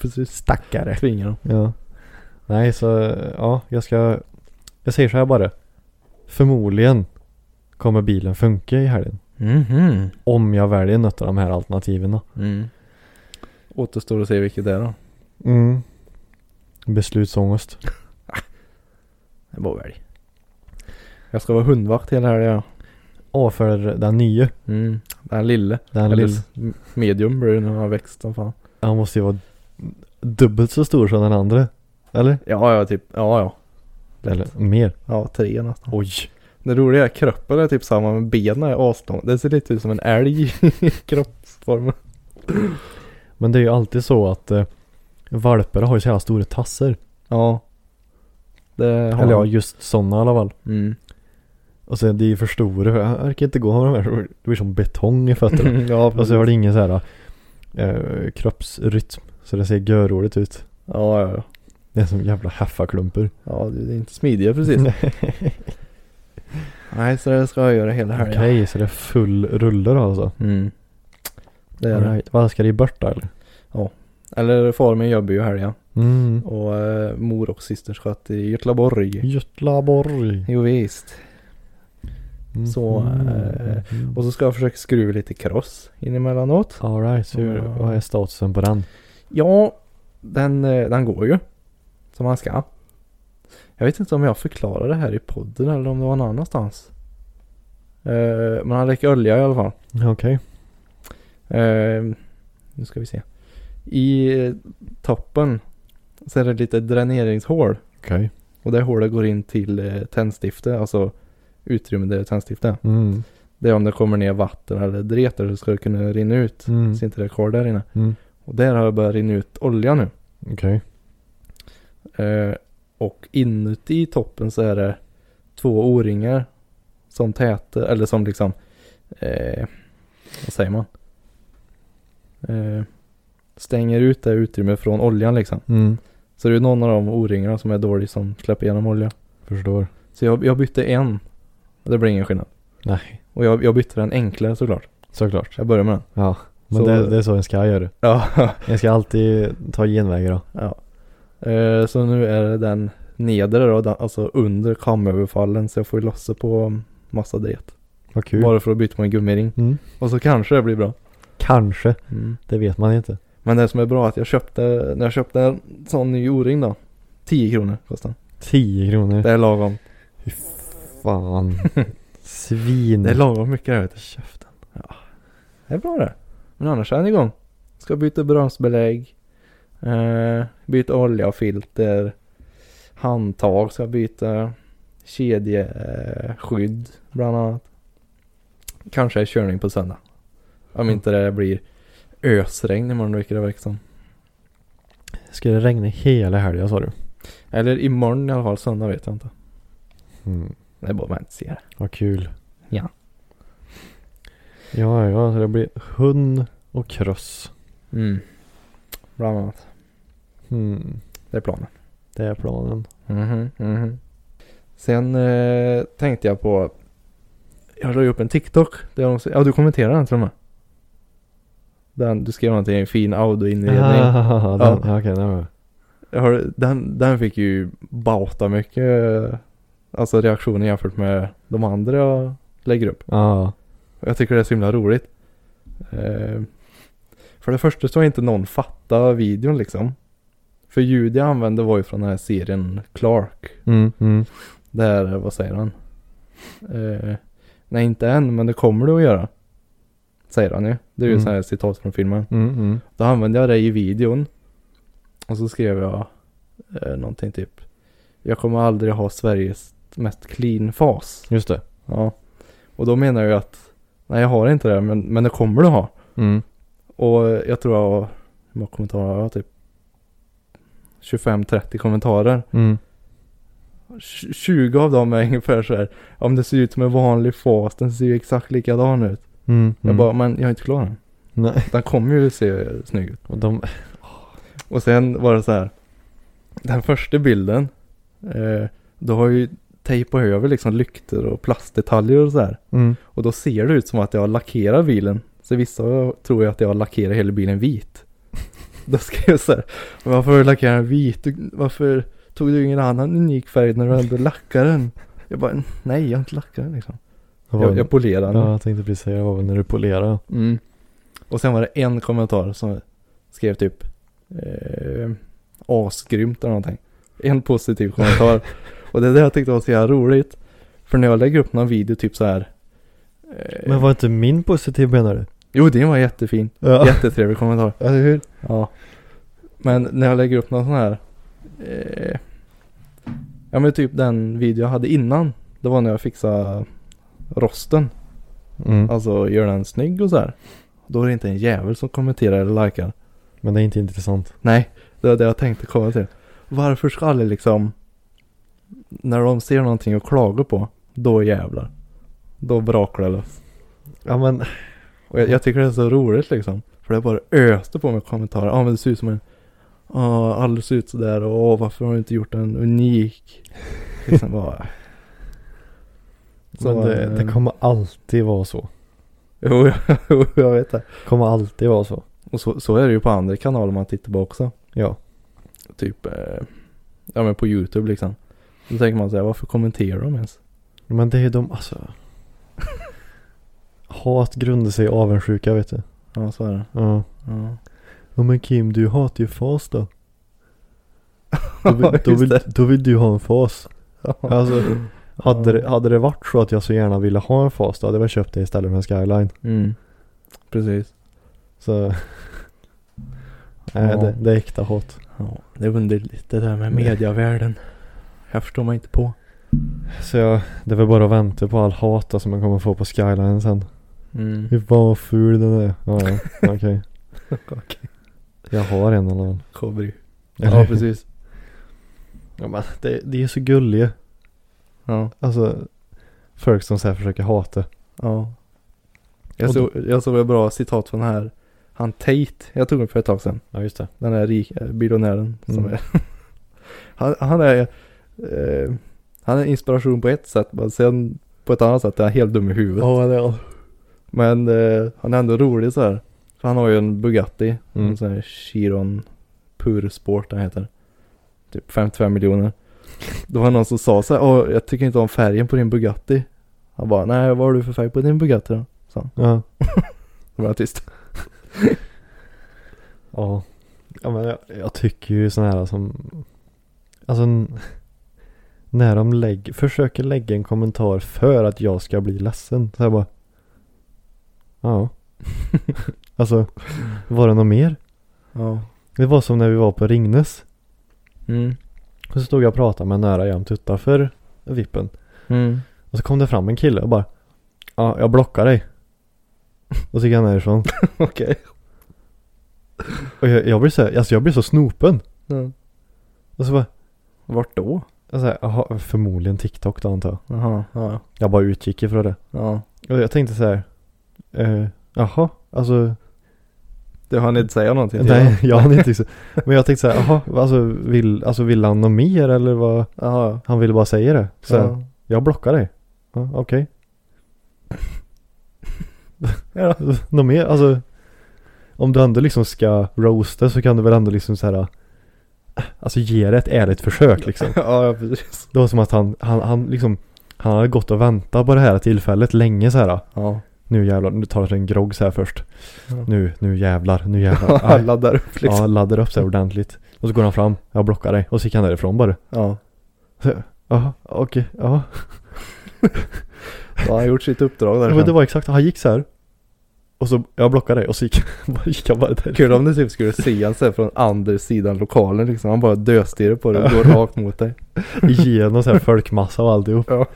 [SPEAKER 2] Precis.
[SPEAKER 1] Stackare.
[SPEAKER 2] Tvinga dem.
[SPEAKER 1] Ja. Nej, så eh, ja, jag ska. Jag säger så här bara. Förmodligen kommer bilen funka i helgen.
[SPEAKER 2] Mhm.
[SPEAKER 1] Om jag väljer något av de här alternativen då.
[SPEAKER 2] Mm. Återstår att se vilket det är då.
[SPEAKER 1] Mm. Beslutsångest.
[SPEAKER 2] Det är bara att välja. Jag ska vara hundvakt hela helgen. ja.
[SPEAKER 1] Åh, för den nya.
[SPEAKER 2] Mm. Den lille.
[SPEAKER 1] Den
[SPEAKER 2] Eller
[SPEAKER 1] lilla.
[SPEAKER 2] s- medium blir det när han har växt som fan.
[SPEAKER 1] Han måste ju vara dubbelt så stor som den andra. Eller?
[SPEAKER 2] Ja, ja, typ. Ja, ja. Lätt.
[SPEAKER 1] Eller mer.
[SPEAKER 2] Ja, tre nästan.
[SPEAKER 1] Oj.
[SPEAKER 2] Det roliga är kroppen är typ samma men benen är aslånga. Det ser lite ut som en älg i kroppsformen.
[SPEAKER 1] Men det är ju alltid så att eh, valpar har ju så jävla stora tassar.
[SPEAKER 2] Ja. Det har
[SPEAKER 1] Eller ja,
[SPEAKER 2] han.
[SPEAKER 1] just sådana i alla fall.
[SPEAKER 2] Mm.
[SPEAKER 1] Och så är det ju för stora. för Jag orkar inte gå med de här. Det blir som betong i fötterna.
[SPEAKER 2] ja,
[SPEAKER 1] och
[SPEAKER 2] precis.
[SPEAKER 1] så har det ingen så här eh, kroppsrytm. Så det ser görroligt ut.
[SPEAKER 2] Ja, ja, ja.
[SPEAKER 1] Det är som jävla heffaklumpar.
[SPEAKER 2] Ja, det det är inte smidiga precis. Nej, så det ska jag göra hela
[SPEAKER 1] Okej,
[SPEAKER 2] helgen.
[SPEAKER 1] så det är full rulle då alltså.
[SPEAKER 2] Mm. Det är det.
[SPEAKER 1] Alright. Vad ska det i bort då eller?
[SPEAKER 2] Eller far min jobbar ju i helgen.
[SPEAKER 1] Mm.
[SPEAKER 2] Och eh, mor och syster sköt i Göteborg.
[SPEAKER 1] Göteborg.
[SPEAKER 2] Jo visst. Så,
[SPEAKER 1] Mhm.
[SPEAKER 2] eh, Och så ska jag försöka skruva lite cross in emellanåt.
[SPEAKER 1] Alright, hur,
[SPEAKER 2] Ja.
[SPEAKER 1] vad är statusen på den?
[SPEAKER 2] Ja, den, eh, den går ju. Som man ska. Jag vet inte om jag förklarade det här i podden eller om det var någon annanstans. Eh, men han räcker olja i alla fall.
[SPEAKER 1] Okej.
[SPEAKER 2] Eh, nu ska vi se. I eh, toppen så är det lite dräneringshål.
[SPEAKER 1] Okej.
[SPEAKER 2] Och det hålet går in till eh, tändstifte, alltså utrymme där det är tändstifte.
[SPEAKER 1] Mm.
[SPEAKER 2] Det är om det kommer ner vatten eller dreter så ska det kunna rinna ut.
[SPEAKER 1] Mm.
[SPEAKER 2] Så inte det är kvar där inne.
[SPEAKER 1] Mm.
[SPEAKER 2] Och där har jag börjat rinna ut olja nu.
[SPEAKER 1] Okej.
[SPEAKER 2] Eh, och inuti toppen så är det två O-ringar som täter, eller som liksom, eh, vad säger man? Eh, stänger ut det utrymme från oljan liksom.
[SPEAKER 1] Mm.
[SPEAKER 2] Så det är någon av de O-ringarna som är dålig som släpper igenom olja.
[SPEAKER 1] Förstår.
[SPEAKER 2] Så jag, jag bytte en. Och det blir ingen skillnad.
[SPEAKER 1] Nej,
[SPEAKER 2] Och jag, jag bytte den enklare såklart.
[SPEAKER 1] såklart.
[SPEAKER 2] Jag börjar med den.
[SPEAKER 1] Ja. Men
[SPEAKER 2] Så-
[SPEAKER 1] det, det är så en ska göra.
[SPEAKER 2] Ja.
[SPEAKER 1] En ska alltid ta genvägar då.
[SPEAKER 2] ja. Eh, så nu är det den nedre då, den, alltså under kamöverfallen. Så jag får ju lossa på massa diet.
[SPEAKER 1] Vad kul.
[SPEAKER 2] Bara för att byta på en gummiring.
[SPEAKER 1] Mm.
[SPEAKER 2] Och så kanske det blir bra.
[SPEAKER 1] Kanske.
[SPEAKER 2] Mm.
[SPEAKER 1] Det vet man inte.
[SPEAKER 2] Men det som är bra är att jag köpte, när jag köpte en sån ny O-ring då. 10 kronor kostar den.
[SPEAKER 1] 10 kronor.
[SPEAKER 2] Det är lagom.
[SPEAKER 1] Fan. Svin.
[SPEAKER 2] Det är lagom mycket det här, vet du.
[SPEAKER 1] Käften.
[SPEAKER 2] Det är bra det. Men annars är den igång. Ska byta bromsbelägg. Eh, byta olja och filter. Handtag ska jag byta. Kedjeskydd eh, skydd bland annat. Kanske är körning på söndag. Om inte det blir ösregn imorgon vilket det verkar som.
[SPEAKER 1] Ska det regna hela helgen sa du?
[SPEAKER 2] Eller imorgon i alla fall, söndag vet jag inte.
[SPEAKER 1] Mm.
[SPEAKER 2] Det är bara att vänta och se.
[SPEAKER 1] Vad kul.
[SPEAKER 2] Ja.
[SPEAKER 1] Ja, ja, så det blir hund och kross.
[SPEAKER 2] Mm. Bland annat.
[SPEAKER 1] Mm.
[SPEAKER 2] Det är planen.
[SPEAKER 1] Det är planen.
[SPEAKER 2] Mhm, mhm. Sen eh, tänkte jag på Jag la ju upp en TikTok där jag också, Ja du kommenterade den till och med den, Du skrev någonting, en fin audioinredning
[SPEAKER 1] Ah, den,
[SPEAKER 2] Ja.
[SPEAKER 1] ja. Okej, den var
[SPEAKER 2] Jag hörde- den, den fick ju bauta mycket eh, Alltså reaktioner jämfört med de andra jag lägger upp
[SPEAKER 1] Ja.
[SPEAKER 2] Och Jag tycker det är så himla roligt eh, För det första så har inte någon fattat videon liksom För ljud jag använde var ju från den här serien Clark
[SPEAKER 1] Mm, mm.
[SPEAKER 2] Där, vad säger han? Eh, nej, inte än, men det kommer du att göra. Säger han ju. Det är ju
[SPEAKER 1] Mm.
[SPEAKER 2] så här citat från filmen.
[SPEAKER 1] Mm, mm.
[SPEAKER 2] Då använde jag det i videon. Och så skrev jag eh, någonting typ. Jag kommer aldrig ha Sveriges mest clean fas.
[SPEAKER 1] Just det.
[SPEAKER 2] Ja. Och då menar jag ju att nej, jag har inte det, men, men det kommer du ha.
[SPEAKER 1] Mm.
[SPEAKER 2] Och jag tror jag har, hur många kommentarer har jag? Typ 25-30 kommentarer.
[SPEAKER 1] Mm.
[SPEAKER 2] 20 av dem är ungefär så här. Om det ser ut som en vanlig fas, den ser ju exakt likadan ut.
[SPEAKER 1] Mm. Mm.
[SPEAKER 2] Jag bara, men jag är inte klar än.
[SPEAKER 1] Nej.
[SPEAKER 2] Den kommer ju se snygg ut.
[SPEAKER 1] Och de...
[SPEAKER 2] Och sen var det så här. Den första bilden, eh, då har ju tejpat över liksom lyktor och plastdetaljer och så här.
[SPEAKER 1] Mm.
[SPEAKER 2] Och då ser det ut som att jag har lackerat bilen. Så vissa tror ju att jag har lackerat hela bilen vit. Då skrev jag så här. Varför har du lackerat den vit? Du- Varför tog du ingen annan unik färg när du ändå lackade den? Jag bara, nej jag har inte lackat den liksom.
[SPEAKER 1] Det var
[SPEAKER 2] Jag,
[SPEAKER 1] en-
[SPEAKER 2] jag polerade den.
[SPEAKER 1] Ja, jag tänkte precis säga det var väl när du polerade.
[SPEAKER 2] Mm. Och sen var det en kommentar som skrev typ eh, asgrymt eller någonting. En positiv kommentar. och det är det jag tyckte var så jävla roligt. För när jag lägger upp någon video typ så här Eh,
[SPEAKER 1] Men var inte min positiv menar du?
[SPEAKER 2] Jo, det var jättefin.
[SPEAKER 1] Ja.
[SPEAKER 2] Jättetrevlig kommentar.
[SPEAKER 1] Eller hur?
[SPEAKER 2] Ja. Men när jag lägger upp någon sån här. Eh, ja men typ den video jag hade innan. Det var när jag fixade rosten.
[SPEAKER 1] Mm.
[SPEAKER 2] Alltså gör den snygg och så här. Då är det inte en jävel som kommenterar eller likar.
[SPEAKER 1] Men det är inte intressant.
[SPEAKER 2] Nej, det var det jag tänkte komma till. Varför ska alla liksom. När de ser någonting och klagar på. Då jävlar. Då brakar det lös.
[SPEAKER 1] Ja men,
[SPEAKER 2] Och jag, jag tycker det är så roligt liksom. För det bara öste på mig kommentarer. Ja ah, men det ser ut som en... Ja ah, alla ser ut sådär och åh, varför har du inte gjort en unik? Liksom bara... Så,
[SPEAKER 1] men det,
[SPEAKER 2] eh,
[SPEAKER 1] det kommer alltid vara så.
[SPEAKER 2] Jo, jo, jag vet det.
[SPEAKER 1] Kommer alltid vara så.
[SPEAKER 2] Och så, så är det ju på andra kanaler man tittar på också.
[SPEAKER 1] Ja.
[SPEAKER 2] Typ... Eh, ja men på YouTube liksom. Då tänker man säga varför kommenterar de ens?
[SPEAKER 1] Men det är ju de, alltså. Hat grundar sig i avundsjuka vet du.
[SPEAKER 2] Ja så är det.
[SPEAKER 1] Ja.
[SPEAKER 2] Ja.
[SPEAKER 1] Ja men Kim, du hatar ju fas då. Då
[SPEAKER 2] Ja,
[SPEAKER 1] vill, då
[SPEAKER 2] just
[SPEAKER 1] vill,
[SPEAKER 2] det.
[SPEAKER 1] då vill du ha en fas.
[SPEAKER 2] Ja.
[SPEAKER 1] Alltså, hade, det, hade det varit så att jag så gärna ville ha en fas då hade jag väl köpt det istället för en skyline.
[SPEAKER 2] Mm. Precis.
[SPEAKER 1] Så. Nej,
[SPEAKER 2] Ja.
[SPEAKER 1] det, det är äkta hat.
[SPEAKER 2] Ja, det är underligt det där med mediavärlden. Jag förstår mig inte på.
[SPEAKER 1] Så jag, det är väl bara att vänta på all hat då som man kommer få på skyline sen.
[SPEAKER 2] Mm.
[SPEAKER 1] Fy fan vad ful den är. Ja, ja. okej.
[SPEAKER 2] Okej.
[SPEAKER 1] Jag har en eller annan.
[SPEAKER 2] Kobri. Ja, precis.
[SPEAKER 1] Ja, men det, det är så gulliga.
[SPEAKER 2] Ja.
[SPEAKER 1] Alltså, folk som så här försöker hata.
[SPEAKER 2] ja. Jag,
[SPEAKER 1] Och
[SPEAKER 2] såg, jag såg ett bra citat från den här. Han Tate. Jag tog upp för ett tag sedan.
[SPEAKER 1] Ja, just det.
[SPEAKER 2] Den här rika biljonären. Som
[SPEAKER 1] Mm.
[SPEAKER 2] är. han, han är. Eh, han är inspiration på ett sätt. Men sen på ett annat sätt är han helt dum i huvudet.
[SPEAKER 1] Ja, det är
[SPEAKER 2] Men eh, han är ändå rolig så här. För han har ju en Bugatti.
[SPEAKER 1] Mm.
[SPEAKER 2] En sån här Chiron Pur Sport den heter. Typ 55 miljoner. Då var det någon som sa så här. Åh, jag tycker inte om färgen på din Bugatti. Han bara, nej vad har du för färg på din Bugatti då?
[SPEAKER 1] Ja.
[SPEAKER 2] Då var jag tyst.
[SPEAKER 1] Ja. Ja, men jag, jag tycker ju sådana här som... Alltså, n- när de lägger, försöker lägga en kommentar för att jag ska bli ledsen. Så jag bara... Ja. alltså, var det något mer?
[SPEAKER 2] Ja.
[SPEAKER 1] Det var som när vi var på Ringnes.
[SPEAKER 2] Mm.
[SPEAKER 1] Och så stod jag och pratade med en nära jämt utanför vippen.
[SPEAKER 2] Mm.
[SPEAKER 1] Och så kom det fram en kille och bara Ja, jag blockar dig. Och så gick han därifrån.
[SPEAKER 2] Okej.
[SPEAKER 1] Och jag, jag blir så här, alltså jag blir så snopen.
[SPEAKER 2] Ja.
[SPEAKER 1] Och så bara,
[SPEAKER 2] Vart då?
[SPEAKER 1] jag så här, aha, förmodligen TikTok då antar jag.
[SPEAKER 2] Jaha. Ja.
[SPEAKER 1] Jag bara utgick ifrån det.
[SPEAKER 2] ja.
[SPEAKER 1] Och jag tänkte så här, eh, jaha, alltså,
[SPEAKER 2] Du har inte säga någonting till honom?
[SPEAKER 1] nej, jag hann inte. Men jag tänkte så här, jaha, alltså vill, alltså vill han något mer eller vad?
[SPEAKER 2] Jaha.
[SPEAKER 1] Han ville bara säga det. Så här,
[SPEAKER 2] Ja.
[SPEAKER 1] jag blockar dig. Ja, okej.
[SPEAKER 2] Ja.
[SPEAKER 1] Något mer? Alltså Om du ändå liksom ska roasta så kan du väl ändå liksom så här äh, Alltså ge det ett ärligt försök liksom
[SPEAKER 2] ja, ja, precis.
[SPEAKER 1] Det var som att han, han, han liksom Han hade gått och väntat på det här tillfället länge så här
[SPEAKER 2] Ja.
[SPEAKER 1] Nu jävlar, nu tar jag en grogg så här först
[SPEAKER 2] Ja.
[SPEAKER 1] Nu, nu jävlar, nu jävlar
[SPEAKER 2] Han
[SPEAKER 1] Aj.
[SPEAKER 2] laddar upp liksom.
[SPEAKER 1] Ja, laddar upp så här ordentligt Och så går han fram, jag blockar dig och så gick han därifrån bara
[SPEAKER 2] ja.
[SPEAKER 1] Jaha, okej, ja
[SPEAKER 2] Då har han gjort sitt uppdrag
[SPEAKER 1] Ja,
[SPEAKER 2] där.
[SPEAKER 1] men det var exakt, han gick så här Och så, jag blockade dig och så gick, gick han bara där
[SPEAKER 2] Kul om du typ skulle se han så här från andra sidan lokalen liksom. Han bara döstirrar på dig och går rakt mot dig.
[SPEAKER 1] Igenom så här folkmassa och alltihop.
[SPEAKER 2] Ja.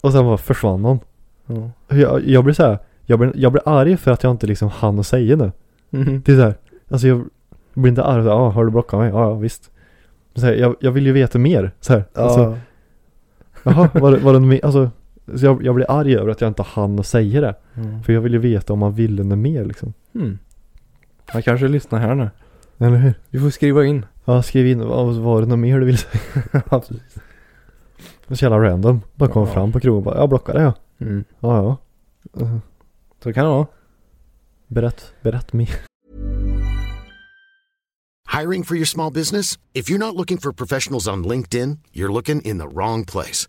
[SPEAKER 1] Och sen bara försvann han.
[SPEAKER 2] Ja.
[SPEAKER 1] Jag, jag blir så här, jag blir, jag blir arg för att jag inte liksom hann att säga det.
[SPEAKER 2] Mm.
[SPEAKER 1] Det är så här, alltså jag blir inte arg så här, ah, har du blockat mig? Ja, ja visst. Men Så här, jag, jag vill ju veta mer. Så här, alltså,
[SPEAKER 2] Alltså,
[SPEAKER 1] jaha, var det, var det något mer? Alltså, så jag, jag blir arg över att jag inte hann att säga det.
[SPEAKER 2] mm.
[SPEAKER 1] För jag vill ju veta om man ville något mer liksom.
[SPEAKER 2] Mm. Han kanske lyssnar här nu.
[SPEAKER 1] Eller hur?
[SPEAKER 2] Du får skriva in.
[SPEAKER 1] Ja, skriv in, vad- var det något mer du ville säga? Så jävla random. Bara kom
[SPEAKER 2] Ja.
[SPEAKER 1] fram på krogen och bara, jag blockade ja.
[SPEAKER 2] Mm.
[SPEAKER 1] Ja, ja.
[SPEAKER 2] Så kan det vara.
[SPEAKER 1] Berätt, berätt mer.
[SPEAKER 3] Hiring for your small business? If you're not looking for professionals on LinkedIn, you're looking in the wrong place.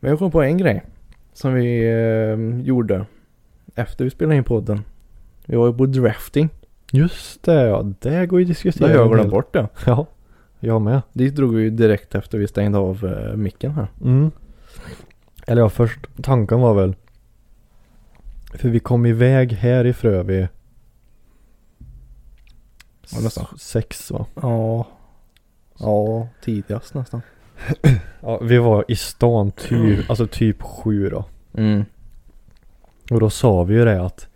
[SPEAKER 2] Men jag kom på en grej. Som vi eh, gjorde. Efter vi spelade in podden. Vi var ju på drafting.
[SPEAKER 1] Just det ja, det går ju att
[SPEAKER 2] Det
[SPEAKER 1] diskutera.
[SPEAKER 2] har
[SPEAKER 1] en
[SPEAKER 2] jag
[SPEAKER 1] del.
[SPEAKER 2] glömt bort det.
[SPEAKER 1] Ja, jag med.
[SPEAKER 2] Dit drog vi ju direkt efter vi stängde av eh, micken här.
[SPEAKER 1] Mm. Eller ja, först tanken var väl. För vi kom iväg här i Frövi.
[SPEAKER 2] Ja, nästan.
[SPEAKER 1] Sex va?
[SPEAKER 2] Ja. Ja, tidigast nästan.
[SPEAKER 1] Ja, vi var i stan typ, alltså typ sju då.
[SPEAKER 2] Mm.
[SPEAKER 1] Och då sa vi ju det att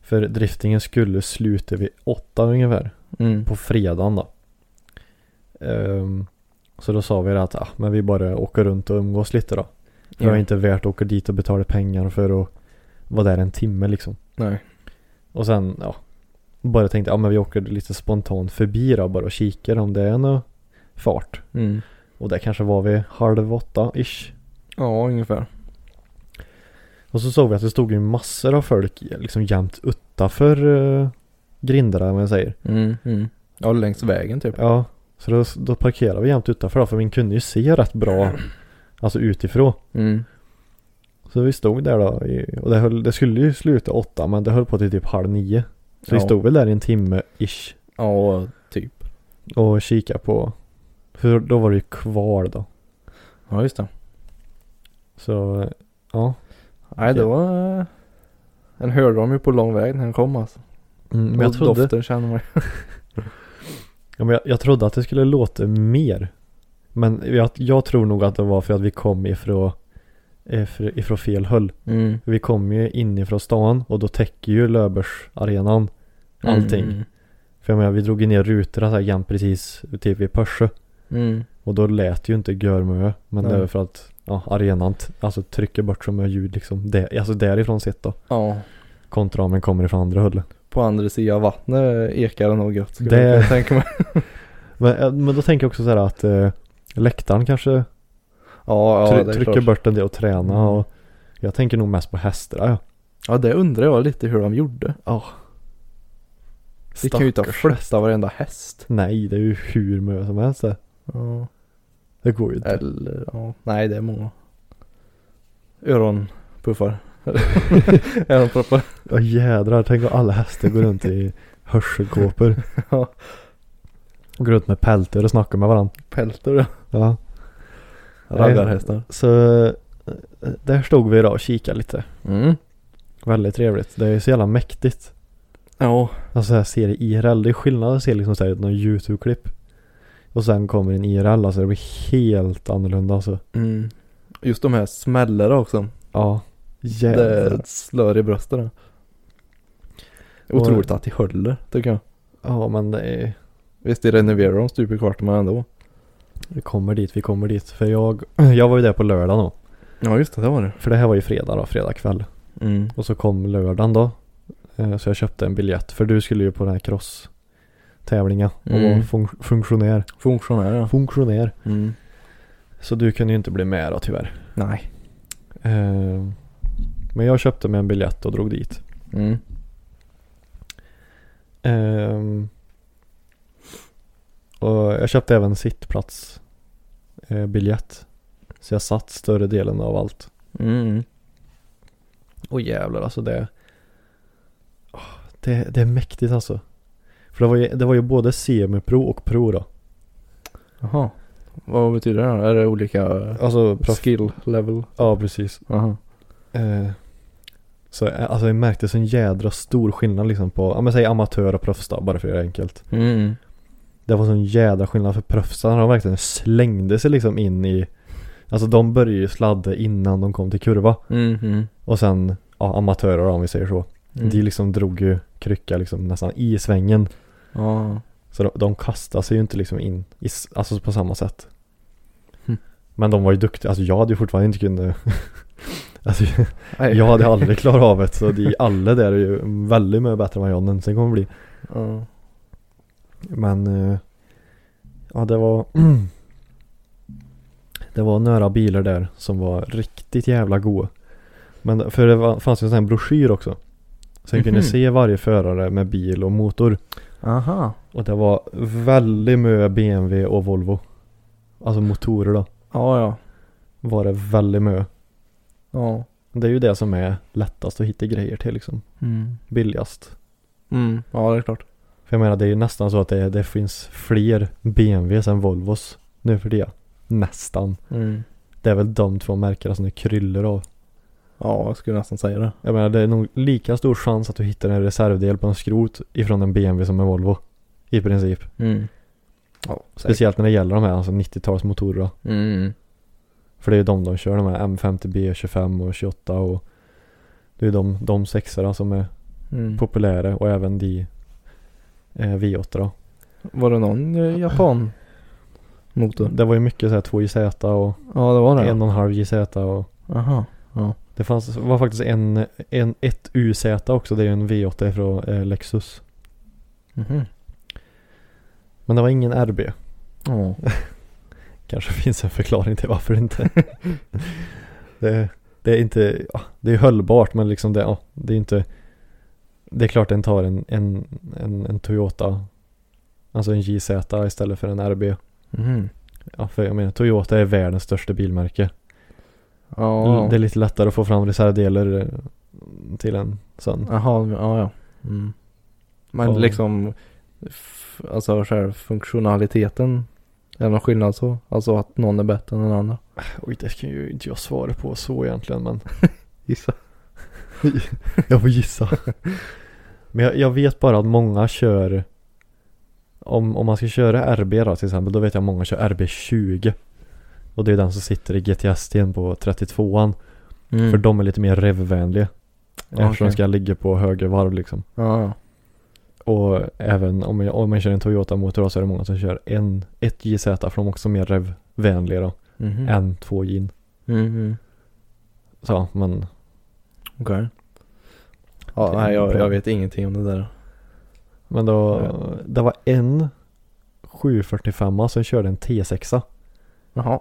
[SPEAKER 1] för driftingen skulle sluta vid åtta ungefär
[SPEAKER 2] Mm.
[SPEAKER 1] på fredagen då. Ehm, så då sa vi det att ah, men vi bara åker runt och umgås lite då. För
[SPEAKER 2] Ja.
[SPEAKER 1] det är inte värt att åka dit och betala pengar för att vara där en timme liksom.
[SPEAKER 2] Nej.
[SPEAKER 1] Och sen ja, bara tänkte ja men vi åker lite spontant förbi då bara och kikar om det är någon fart.
[SPEAKER 2] Mm.
[SPEAKER 1] Och det kanske var vid halv åtta ish.
[SPEAKER 2] Ja, ungefär.
[SPEAKER 1] Och så såg vi att det stod ju massor av folk liksom jämt utanför uh, grindarna om man säger.
[SPEAKER 2] Mm. Mm. Ja, längs vägen typ.
[SPEAKER 1] Ja, så då, då parkerade vi jämt utanför då, för man kunde ju se rätt bra alltså utifrån.
[SPEAKER 2] Mm.
[SPEAKER 1] Så vi stod där då i, och det, höll, det skulle ju sluta åtta men det höll på till typ halv nio. Så vi
[SPEAKER 2] Ja.
[SPEAKER 1] stod väl där i en timme ish
[SPEAKER 2] Ja, typ.
[SPEAKER 1] och kikade på, för då var det ju kval då.
[SPEAKER 2] Ja, just det.
[SPEAKER 1] Så ja,
[SPEAKER 2] Nej, det var... eh, Den hörde de ju på lång väg när den kom alltså.
[SPEAKER 1] mm, men
[SPEAKER 2] Och
[SPEAKER 1] jag trodde,
[SPEAKER 2] doften känner man ju.
[SPEAKER 1] ja, men jag, jag trodde att det skulle låta mer. Men jag, jag tror nog att det var för att vi kom ifrån, ifrån, ifrån fel håll.
[SPEAKER 2] Mm.
[SPEAKER 1] Vi kom ju inifrån stan och då täcker ju Löbersarenan allting.
[SPEAKER 2] Mm.
[SPEAKER 1] För jag menar, vi drog ju ner rutorna så här jämt precis typ vid Pörsö.
[SPEAKER 2] Mm.
[SPEAKER 1] Och då lät ju inte görmö. Men det
[SPEAKER 2] Nej.
[SPEAKER 1] är väl för att ja, arenan t- alltså, trycker bort så mycket ljud liksom. Det, alltså därifrån sett då.
[SPEAKER 2] Ja.
[SPEAKER 1] Kontra om en kommer ifrån andra hållet.
[SPEAKER 2] På andra sidan vattnet eh, ekar det nog gött. skulle
[SPEAKER 1] Det-
[SPEAKER 2] jag kunna tänka mig.
[SPEAKER 1] Men, eh, men då tänker jag också så här att eh, läktaren kanske
[SPEAKER 2] Ja, ja
[SPEAKER 1] try-
[SPEAKER 2] det är
[SPEAKER 1] trycker
[SPEAKER 2] klart.
[SPEAKER 1] bort en del och träna.
[SPEAKER 2] Mm.
[SPEAKER 1] Och jag tänker nog mest på hästar. Ja.
[SPEAKER 2] Ja, det undrar jag lite hur de gjorde.
[SPEAKER 1] Oh.
[SPEAKER 2] Det kan ju inte flytta varenda häst.
[SPEAKER 1] Nej, det är ju hur mycket som helst det.
[SPEAKER 2] Ja.
[SPEAKER 1] Det går ju inte.
[SPEAKER 2] Eller, ja. Nej, det är många. Öronpuffar. Öronproppar.
[SPEAKER 1] Ja jädrar, tänk om alla hästar går runt i hörselkåpor.
[SPEAKER 2] Ja.
[SPEAKER 1] Och går runt med pälter och snackar med varandra.
[SPEAKER 2] Pältor ja.
[SPEAKER 1] Ja.
[SPEAKER 2] Raggarhästar.
[SPEAKER 1] Så eh, där stod vi idag och kikade lite.
[SPEAKER 2] Mm.
[SPEAKER 1] Väldigt trevligt. Det är ju så jävla mäktigt.
[SPEAKER 2] Ja.
[SPEAKER 1] Alltså jag ser det IRL. Det är skillnad att se liksom såhär någon YouTube-klipp. Och sen kommer en IRL alltså. Det blir helt annorlunda alltså.
[SPEAKER 2] Mm. Just de här smällarna också.
[SPEAKER 1] Ja. Jädrar.
[SPEAKER 2] Det slår i brösten. det. Otroligt att det håller tycker jag.
[SPEAKER 1] Ja men det är...
[SPEAKER 2] Visst det renoverar de stup i kvarten men ändå.
[SPEAKER 1] Vi kommer dit, vi kommer dit. För jag, jag var ju där på lördagen då.
[SPEAKER 2] Ja just det, det var det.
[SPEAKER 1] För det här var ju fredag då, fredag kväll.
[SPEAKER 2] Mm.
[SPEAKER 1] Och så kom lördagen då. Eh, Så jag köpte en biljett. För du skulle ju på den här cross tävlingen och
[SPEAKER 2] Mm.
[SPEAKER 1] vara fun- funktionär.
[SPEAKER 2] Funktionär ja.
[SPEAKER 1] Funktionär.
[SPEAKER 2] Mm.
[SPEAKER 1] Så du kunde ju inte bli med då tyvärr.
[SPEAKER 2] Nej.
[SPEAKER 1] Eh, Men jag köpte mig en biljett och drog dit.
[SPEAKER 2] Mm.
[SPEAKER 1] Eh, Och jag köpte även sittplats eh, biljett. Så jag satt större delen av allt.
[SPEAKER 2] Mm.
[SPEAKER 1] Och jävlar alltså det, Åh, det Det är mäktigt alltså. För det var ju, det var ju både semipro och pro då.
[SPEAKER 2] Jaha. Vad betyder det då? Är det olika
[SPEAKER 4] eh,
[SPEAKER 1] Alltså proff-
[SPEAKER 2] skill level?
[SPEAKER 1] Ja precis.
[SPEAKER 2] Jaha.
[SPEAKER 1] Eh, så eh, alltså jag märkte en jädra stor skillnad liksom på, ja men säg amatör och proffs då, bara för att göra det enkelt.
[SPEAKER 2] Mm.
[SPEAKER 1] Det var sån jädra skillnad för proffsarna. De verkligen slängde sig liksom in i... Alltså de började ju sladda innan de kom till kurva.
[SPEAKER 4] Mm, mm,
[SPEAKER 1] Och sen ja, amatörer om vi säger så.
[SPEAKER 4] mm.
[SPEAKER 1] De liksom drog ju krycka liksom nästan i svängen.
[SPEAKER 4] Ja.
[SPEAKER 1] Så de, de kastade sig ju inte liksom in i, s- alltså på samma sätt.
[SPEAKER 4] Hm.
[SPEAKER 1] Men de var ju duktiga. Alltså jag hade ju fortfarande inte kunnat... alltså
[SPEAKER 4] Nej.
[SPEAKER 1] jag hade aldrig klarat av det. Så de alla där är ju väldigt mycket bättre än vad jag någonsin kommer bli.
[SPEAKER 4] Ja.
[SPEAKER 1] Men eh, ja, det var det var några bilar där som var riktigt jävla goa. Men för det var, fanns ju en sån här broschyr också. Så man kunde
[SPEAKER 4] Mhm.
[SPEAKER 1] se varje förare med bil och motor.
[SPEAKER 4] Aha.
[SPEAKER 1] Och det var väldigt mycket BMW och Volvo. Alltså motorer då.
[SPEAKER 4] Ja, ja.
[SPEAKER 1] Var det väldigt mycket.
[SPEAKER 4] Ja.
[SPEAKER 1] Det är ju det som är lättast att hitta grejer till liksom.
[SPEAKER 4] Mm.
[SPEAKER 1] Billigast.
[SPEAKER 4] Mm. Ja, det är klart.
[SPEAKER 1] För jag menar det är ju nästan så att det, det finns fler BMWs än Volvos nu för det. Nästan.
[SPEAKER 4] Mm.
[SPEAKER 1] Det är väl de två märkena som det kryller av.
[SPEAKER 2] Ja, jag skulle nästan säga det.
[SPEAKER 1] Jag menar det är nog lika stor chans att du hittar en reservdel på en skrot ifrån en BMW som en Volvo. I princip.
[SPEAKER 4] Mm.
[SPEAKER 2] Ja, säkert.
[SPEAKER 1] Speciellt när det gäller de här alltså 90-talsmotorerna.
[SPEAKER 4] Mm.
[SPEAKER 1] För det är ju de de kör, de här M50B, 25 och 28 och det är ju de, de sexorna som är
[SPEAKER 4] Mm.
[SPEAKER 1] populära och även de eh, V8 då.
[SPEAKER 4] Var det någon eh, japan? Motor?
[SPEAKER 1] Det var ju mycket såhär 2 JZ och
[SPEAKER 4] Mm. Ja, det var det.
[SPEAKER 1] en och en halv JZ och
[SPEAKER 4] Aha.
[SPEAKER 1] det fanns, var faktiskt en, en, ett UZ också, det är ju en V8 från eh, Lexus.
[SPEAKER 4] Mhm.
[SPEAKER 1] Men det var ingen RB.
[SPEAKER 4] Ja.
[SPEAKER 1] Kanske finns en förklaring till varför inte. det, det är inte, ja, det är hållbart men liksom det, ja, det är inte. Det är klart den tar en, en, en, en Toyota. Alltså en JZ istället för en RB.
[SPEAKER 2] Mm.
[SPEAKER 4] Mhm.
[SPEAKER 1] Ja, för jag menar Toyota är världens största bilmärke.
[SPEAKER 4] Ja.
[SPEAKER 1] Det är lite lättare att få fram reservdelar eh, till en sån.
[SPEAKER 4] Jaha, ja ja. Mm.
[SPEAKER 2] Men
[SPEAKER 1] Ja.
[SPEAKER 2] liksom, f- alltså själv funktionaliteten. Är det någon skillnad så? Alltså att någon är bättre än den andra?
[SPEAKER 1] Oj, det kan ju inte jag svara på så egentligen men.
[SPEAKER 2] Gissa.
[SPEAKER 1] Jag får gissa. Men jag, jag vet bara att många kör om, om man ska köra RB då till exempel, då vet jag att många kör RB20. Och det är den som sitter i GTS-en på 32an.
[SPEAKER 4] Mm.
[SPEAKER 1] För de är lite mer revvänliga. Eftersom
[SPEAKER 4] okej.
[SPEAKER 1] de ska ligga på högre varv liksom.
[SPEAKER 4] Ja, ja.
[SPEAKER 1] Och även om, jag, om man kör en Toyota-motor då så är det många som kör en, ett JZ för de är också mer revvänliga då.
[SPEAKER 4] Mhm.
[SPEAKER 1] Än två JIN.
[SPEAKER 4] Mhm.
[SPEAKER 1] Så ja, men
[SPEAKER 4] Okej.
[SPEAKER 2] Ja,
[SPEAKER 1] Det är
[SPEAKER 2] nej jag,
[SPEAKER 1] bra.
[SPEAKER 2] jag vet ingenting om det där.
[SPEAKER 1] Men då, det var en 745 som körde en T6.
[SPEAKER 4] Jaha.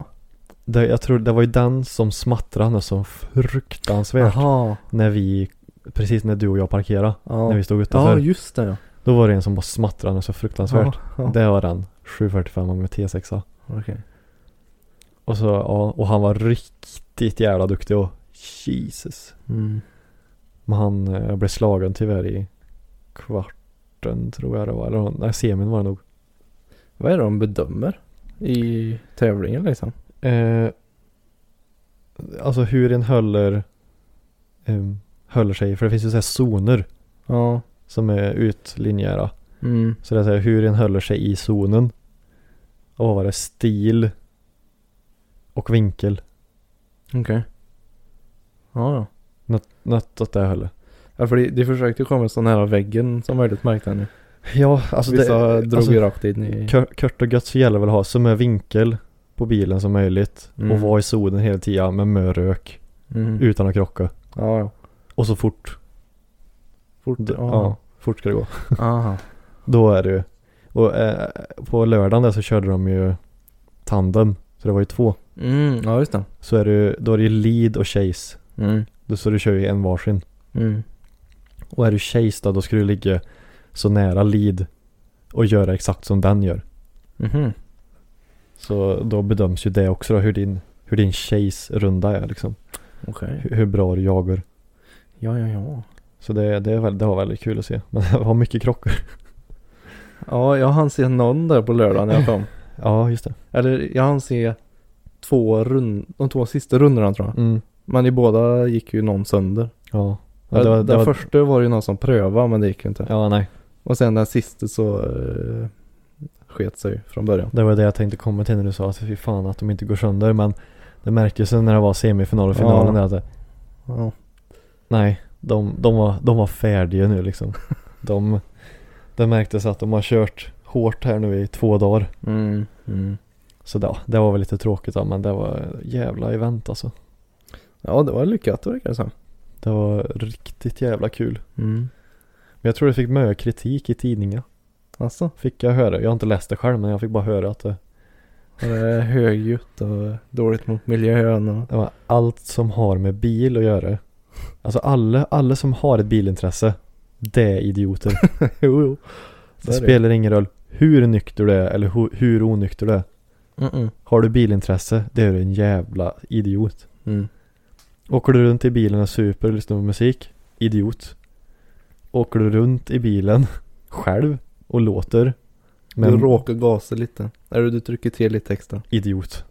[SPEAKER 1] Det, jag tror det var ju den som smattrade något så fruktansvärt
[SPEAKER 4] Jaha.
[SPEAKER 1] när vi, precis när du och jag parkerade,
[SPEAKER 4] Ja.
[SPEAKER 1] när vi stod
[SPEAKER 4] ja,
[SPEAKER 1] utanför.
[SPEAKER 4] just det ja.
[SPEAKER 1] då var det en som bara smattrade något så fruktansvärt.
[SPEAKER 4] Ja, ja.
[SPEAKER 1] Det var den, 745 med T6.
[SPEAKER 4] Okej.
[SPEAKER 1] Och så, ja, och han var riktigt jävla duktig och Jesus.
[SPEAKER 4] Mm.
[SPEAKER 1] Men han eh, blev slagen tyvärr i kvarten tror jag det var, eller nej, semin var det nog.
[SPEAKER 2] Vad är det de bedömer? I tävlingen liksom?
[SPEAKER 1] Eh, alltså hur en höller um, höller sig, för det finns ju så här zoner
[SPEAKER 4] Ja.
[SPEAKER 1] som är utlinjära.
[SPEAKER 4] Mm.
[SPEAKER 1] Så det är så här hur en höller sig i zonen. Och vad var det? Stil och vinkel.
[SPEAKER 4] Okej. Ja, ja.
[SPEAKER 1] Något, något åt det höller.
[SPEAKER 2] Ja för de, de försökte ju komma så nära väggen som möjligt märkte jag nu.
[SPEAKER 1] Ja, alltså
[SPEAKER 2] Vissa
[SPEAKER 1] det...
[SPEAKER 2] drog
[SPEAKER 1] alltså,
[SPEAKER 2] ju rakt in i...
[SPEAKER 1] kör- Kort och gött så gäller det väl att ha så mycket vinkel på bilen som möjligt.
[SPEAKER 4] Mm.
[SPEAKER 1] Och vara i zonen hela tiden med mö rök.
[SPEAKER 4] Mm.
[SPEAKER 1] Utan att krocka.
[SPEAKER 2] Mhm. Ja ja.
[SPEAKER 1] Och så fort.
[SPEAKER 2] Fort.
[SPEAKER 1] Ja,
[SPEAKER 2] Ja.
[SPEAKER 1] fort ska det gå.
[SPEAKER 4] Aha.
[SPEAKER 1] Då är det ju. Och eh, på lördagen där så körde de ju tandem. Så det var ju två.
[SPEAKER 4] Mm. Ja, just det.
[SPEAKER 1] Så är det ju, då är det ju lead och chase.
[SPEAKER 4] Mm.
[SPEAKER 1] Då- Så du kör ju en varsin.
[SPEAKER 4] Mm.
[SPEAKER 1] Och är du chase då, då ska du ligga så nära lead och göra exakt som den gör.
[SPEAKER 4] Mhm.
[SPEAKER 1] Så då bedöms ju det också då, hur din, hur din chase-runda är liksom.
[SPEAKER 4] Okej.
[SPEAKER 1] Hur, hur bra du jagar.
[SPEAKER 4] Ja, ja, ja.
[SPEAKER 1] Så det, det, är väl, det var väldigt kul att se. Men det var mycket krockar.
[SPEAKER 2] Ja jag hann se någon där på lördagen när jag kom.
[SPEAKER 1] Ja, just det.
[SPEAKER 2] Eller jag hann se två rund, de två sista rundorna tror jag.
[SPEAKER 1] Mm.
[SPEAKER 2] Men i båda gick ju någon sönder.
[SPEAKER 1] Ja. ja det var, det
[SPEAKER 2] den
[SPEAKER 1] var,
[SPEAKER 2] första var det ju någon som prövade men det gick ju inte.
[SPEAKER 1] ja, nej.
[SPEAKER 2] Och sen den sista så eh, sket sig från början.
[SPEAKER 1] Det var det jag tänkte komma till när du sa att fy fan att de inte går sönder men det märktes ju när det var semifinal och finalen där att det-
[SPEAKER 2] Ja.
[SPEAKER 1] nej, de, de, var, de var färdiga nu liksom. De, det märktes att de har kört hårt här nu i två dagar.
[SPEAKER 2] Mm, mm.
[SPEAKER 1] Så det, det var väl lite tråkigt då, men det var jävla event alltså.
[SPEAKER 2] Ja, det var lyckat verkar det som.
[SPEAKER 1] Det var riktigt jävla kul.
[SPEAKER 2] Mm.
[SPEAKER 1] Men jag tror det fick mycket kritik i tidningar.
[SPEAKER 2] Alltså,
[SPEAKER 1] Fick jag höra. Jag har inte läst det själv men jag fick bara höra att det,
[SPEAKER 2] det är högljutt och dåligt mot miljön och...
[SPEAKER 1] det var allt som har med bil att göra. Alltså alla, alla som har ett bilintresse, det är idioter.
[SPEAKER 2] jo, jo.
[SPEAKER 1] Det spelar ingen roll hur nykter du är eller hu- hur onykter du är.
[SPEAKER 2] Mm-mm.
[SPEAKER 1] Har du bilintresse, det är du en jävla idiot.
[SPEAKER 2] Mm.
[SPEAKER 1] Åker du runt i bilen och super och lyssnar på musik, idiot. Åker du runt i bilen själv och låter,
[SPEAKER 2] Du
[SPEAKER 1] men
[SPEAKER 2] råkar gasa lite. Eller du trycker till lite extra.
[SPEAKER 1] idiot.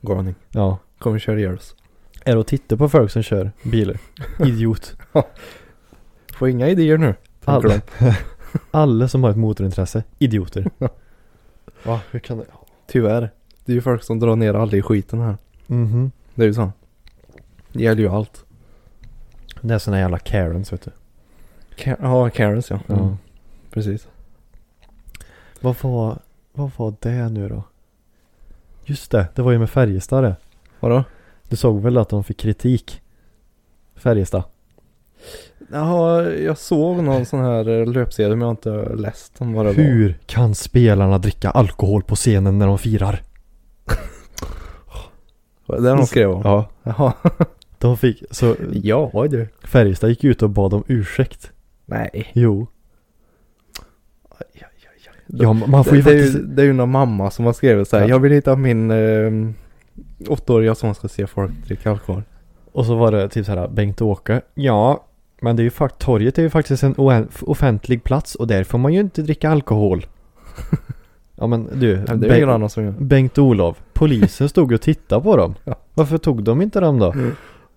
[SPEAKER 2] Galning.
[SPEAKER 1] Ja.
[SPEAKER 2] Kommer köra ihjäl oss.
[SPEAKER 1] Är att titta på folk som kör bilar. Idiot.
[SPEAKER 2] Få inga idéer nu. tänker
[SPEAKER 1] Alla,
[SPEAKER 2] de.
[SPEAKER 1] alla som har ett motorintresse, idioter. Va, hur kan det?
[SPEAKER 2] Tyvärr. Det är ju folk som drar ner alla i skiten här.
[SPEAKER 1] Mhm.
[SPEAKER 2] Det är ju så. Det gäller ju allt.
[SPEAKER 1] Det är såna jävla Karens vet du.
[SPEAKER 2] Ka- Ja, Karens ja.
[SPEAKER 1] Ja.
[SPEAKER 2] Mm. Precis.
[SPEAKER 1] Vad var, vad var det nu då? Just det, det var ju med Färjestad det.
[SPEAKER 2] Vadå?
[SPEAKER 1] Du såg väl att de fick kritik? Färjestad.
[SPEAKER 2] Jaha, jag såg någon sån här eh, löpsedel men jag har inte läst om vad det var.
[SPEAKER 1] Hur kan spelarna dricka alkohol på scenen när de firar?
[SPEAKER 2] Var det Den de skrev om?
[SPEAKER 1] Ja.
[SPEAKER 2] Jaha.
[SPEAKER 1] De fick, så
[SPEAKER 2] Ja du.
[SPEAKER 1] Färjestad gick ut och bad om ursäkt.
[SPEAKER 2] Nej.
[SPEAKER 1] Jo. Ja, man får
[SPEAKER 2] Det,
[SPEAKER 1] ju
[SPEAKER 2] det, är ju,
[SPEAKER 1] faktiskt...
[SPEAKER 2] det är ju någon mamma som har skrivit så här.
[SPEAKER 1] Ja.
[SPEAKER 2] Jag vill inte att min eh, åttaåriga son ska se folk dricka alkohol.
[SPEAKER 1] Och så var det typ så här Bengt-Åke. Ja, men det är ju fakt- torget är ju faktiskt en oen- offentlig plats och där får man ju inte dricka alkohol. ja men du,
[SPEAKER 2] Nej, det är ju
[SPEAKER 1] Bengt-
[SPEAKER 2] ingen annan som gör.
[SPEAKER 1] Bengt-Olof, polisen stod och tittade på dem.
[SPEAKER 2] Ja.
[SPEAKER 1] Varför tog de inte dem då?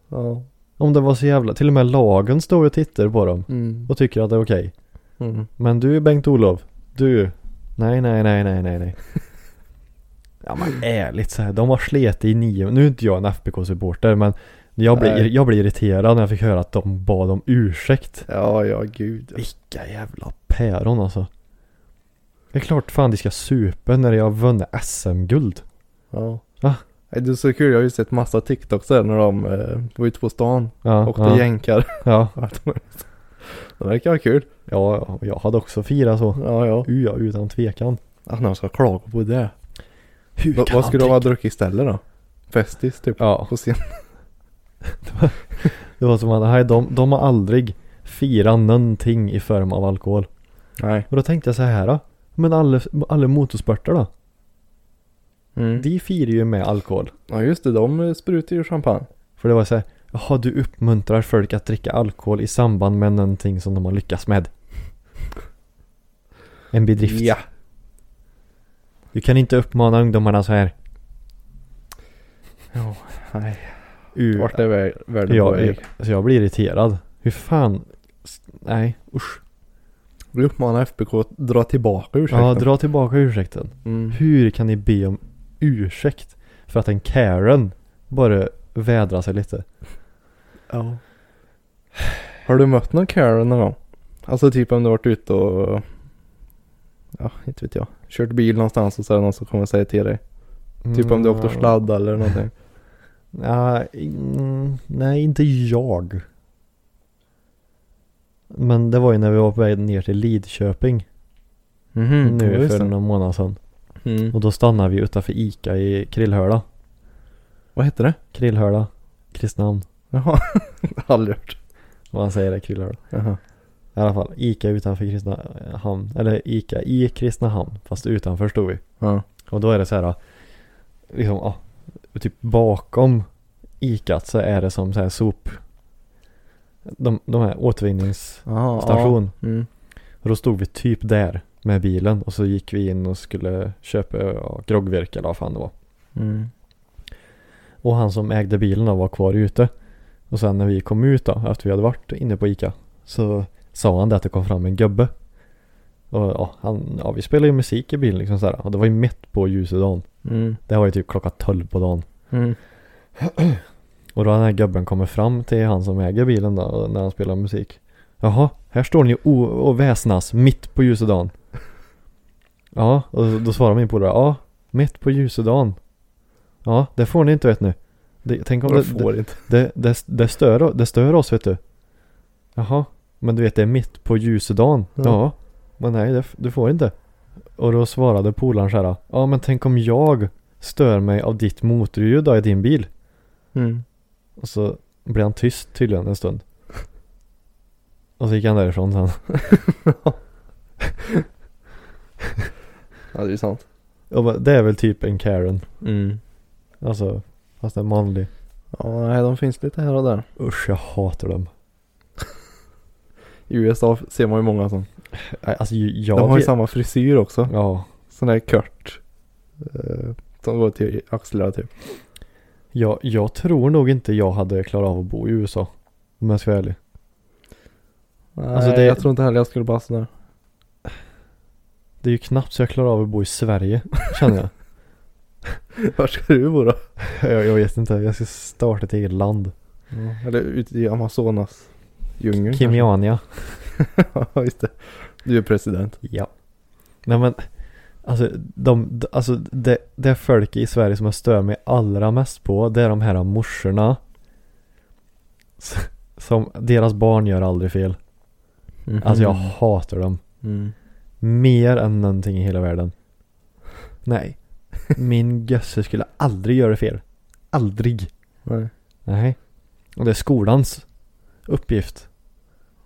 [SPEAKER 2] Ja.
[SPEAKER 1] Om det var så jävla, till och med lagen stod och tittade på dem
[SPEAKER 2] Mm.
[SPEAKER 1] och tycker att det är okej.
[SPEAKER 2] Mm.
[SPEAKER 1] Men du Bengt-Olof, du, nej nej nej nej nej nej. ja
[SPEAKER 2] Mm.
[SPEAKER 1] men ärligt så här, de har slet i nio, nu är inte jag en FBK-supporter men jag blir,
[SPEAKER 2] Nej.
[SPEAKER 1] jag blir irriterad när jag fick höra att de bad om ursäkt.
[SPEAKER 2] Ja, ja gud.
[SPEAKER 1] Vilka jävla päron alltså. Det är klart fan de ska supa när jag har vunnit SM-guld.
[SPEAKER 2] Ja.
[SPEAKER 1] Va?
[SPEAKER 2] Nej, Det är så kul, jag har ju sett massa TikToks där när de eh, var ute på stan
[SPEAKER 1] Ja,
[SPEAKER 2] och åkte
[SPEAKER 1] ja,
[SPEAKER 2] jänkar.
[SPEAKER 1] ja.
[SPEAKER 2] det verkar vara kul.
[SPEAKER 1] Ja, ja, jag hade också firat så.
[SPEAKER 2] Ja, ja.
[SPEAKER 1] U, Ja, utan tvekan.
[SPEAKER 2] Att någon ska klaga på det.
[SPEAKER 1] Hur
[SPEAKER 2] Va, vad skulle de ha druckit istället då? Festis typ?
[SPEAKER 1] Ja,
[SPEAKER 2] På scen.
[SPEAKER 1] det var som att nej, de, de har aldrig firat någonting i form av alkohol.
[SPEAKER 2] Nej.
[SPEAKER 1] Och då tänkte jag så här då. Men alla, alla motorsporter då?
[SPEAKER 2] Mm.
[SPEAKER 1] De firar ju med alkohol.
[SPEAKER 2] Ja just det, de eh, sprutar ju champagne.
[SPEAKER 1] För det var så här. Jaha, du uppmuntrar folk att dricka alkohol i samband med någonting som de har lyckats med. En bedrift.
[SPEAKER 2] Ja.
[SPEAKER 1] Du kan inte uppmana ungdomarna så här.
[SPEAKER 2] Ja, nej.
[SPEAKER 1] U,
[SPEAKER 2] Vart är vär- världen på
[SPEAKER 1] jag,
[SPEAKER 2] väg?
[SPEAKER 1] så jag blir irriterad. Hur fan? S- Nej, usch.
[SPEAKER 2] Vi uppmanar FBK att dra tillbaka ursäkten.
[SPEAKER 1] Ja, dra tillbaka ursäkten.
[SPEAKER 2] mm.
[SPEAKER 1] Hur kan ni be om ursäkt för att en Karen bara vädrar sig lite?
[SPEAKER 2] ja. Har du mött någon Karen någon gång? Alltså typ om du varit ute och... Ja, inte vet jag. Kört bil någonstans och så är det någon som kommer och säger till dig. Typ om du åkte och sladdade eller någonting.
[SPEAKER 1] Nej, mm, nej, inte jag. Men det var ju när vi var på väg ner till Lidköping
[SPEAKER 2] Mhm, ja,
[SPEAKER 1] nu
[SPEAKER 2] just
[SPEAKER 1] för
[SPEAKER 2] det.
[SPEAKER 1] någon månad sedan.
[SPEAKER 2] Mm.
[SPEAKER 1] Och då stannade vi utanför Ica i Krillhöla.
[SPEAKER 2] Vad heter det?
[SPEAKER 1] Krillhöla, Kristinehamn.
[SPEAKER 2] Jaha, aldrig hört.
[SPEAKER 1] Vad man säger är Krillhöla.
[SPEAKER 2] Jaha.
[SPEAKER 1] I alla fall, Ica utanför Kristinehamn. Eller Ica i Kristinehamn, fast utanför stod vi.
[SPEAKER 2] Ja.
[SPEAKER 1] Och då är det så här, liksom, ja, typ bakom ikat så är det som så här sop, de, de här återvinnings...
[SPEAKER 2] Aha,
[SPEAKER 1] Station.
[SPEAKER 2] Ja. Mm.
[SPEAKER 1] Och då stod vi typ där med bilen och så gick vi in och skulle köpa ja, groggvirk eller vad fan det var.
[SPEAKER 2] Mm.
[SPEAKER 1] Och han som ägde bilen då var kvar ute. Och sen när vi kom ut då, efter vi hade varit inne på Ica, så sa han det att det kom fram en gubbe. Och ja, han, ja, vi spelade ju musik i bilen liksom sådär. Och det var ju mitt på ljuset dagen.
[SPEAKER 2] Mm.
[SPEAKER 1] Det var ju typ klockan 12 på dagen.
[SPEAKER 2] Mm.
[SPEAKER 1] Och då har den här gubben kommit fram till han som äger bilen då, och när han spelar musik. Jaha, här står ni o- och väsnas mitt på ljuset dagen. Ja, och då svarar min polare, ja, mitt på ljuset dagen. Ja, det får ni inte vet nu. Det, tänk om
[SPEAKER 5] Och det
[SPEAKER 1] det,
[SPEAKER 5] får inte.
[SPEAKER 1] det, det, det, stör, det stör oss vet du. Jaha, men du vet det är mitt på ljusedagen.
[SPEAKER 2] Ja.
[SPEAKER 1] Ja, men nej det, du får inte. Och då svarade polaren så här. Ja men tänk om jag stör mig av ditt motorljud då i din bil.
[SPEAKER 2] Mm.
[SPEAKER 1] Och så blev han tyst tydligen en stund. Och så gick han därifrån sen.
[SPEAKER 2] Ja, det är sant.
[SPEAKER 1] Jag bara, det är väl typ en Karen.
[SPEAKER 2] Mm.
[SPEAKER 1] Alltså, fast en manlig.
[SPEAKER 2] Ja, nej, de finns lite här och där.
[SPEAKER 1] Usch jag hatar dem.
[SPEAKER 2] I USA ser man ju många som.
[SPEAKER 1] Nej, Alltså jag
[SPEAKER 2] De har ju
[SPEAKER 1] vet-
[SPEAKER 2] samma frisyr också.
[SPEAKER 1] Ja.
[SPEAKER 2] Sån där kört. Eh, som går till axlarna typ.
[SPEAKER 1] Jag, jag tror nog inte jag hade klarat av att bo i USA. Om jag ska vara ärlig.
[SPEAKER 2] Nej,
[SPEAKER 1] Alltså, det-
[SPEAKER 2] jag tror inte heller jag skulle passa där.
[SPEAKER 1] Det är ju knappt så jag klarar av att bo i Sverige, känner jag.
[SPEAKER 2] Var ska du bo då? Mm,
[SPEAKER 1] jag. Jag vet inte, jag ska starta ett eget land.
[SPEAKER 2] Eller ute i Amazonas djungeln
[SPEAKER 1] Kimiania.
[SPEAKER 2] kanske. Ja, just det. Du är president.
[SPEAKER 1] Ja. Nej men, alltså, de, d- alltså det, det folk i Sverige som jag stör mig allra mest på, det är de här morsorna. S- Som, deras barn gör aldrig fel. Alltså jag hatar dem.
[SPEAKER 2] Mm.
[SPEAKER 1] Mer än någonting i hela världen. Nej. Min gösse skulle aldrig göra fel. Aldrig.
[SPEAKER 2] Nej.
[SPEAKER 1] Nej. Och det är skolans uppgift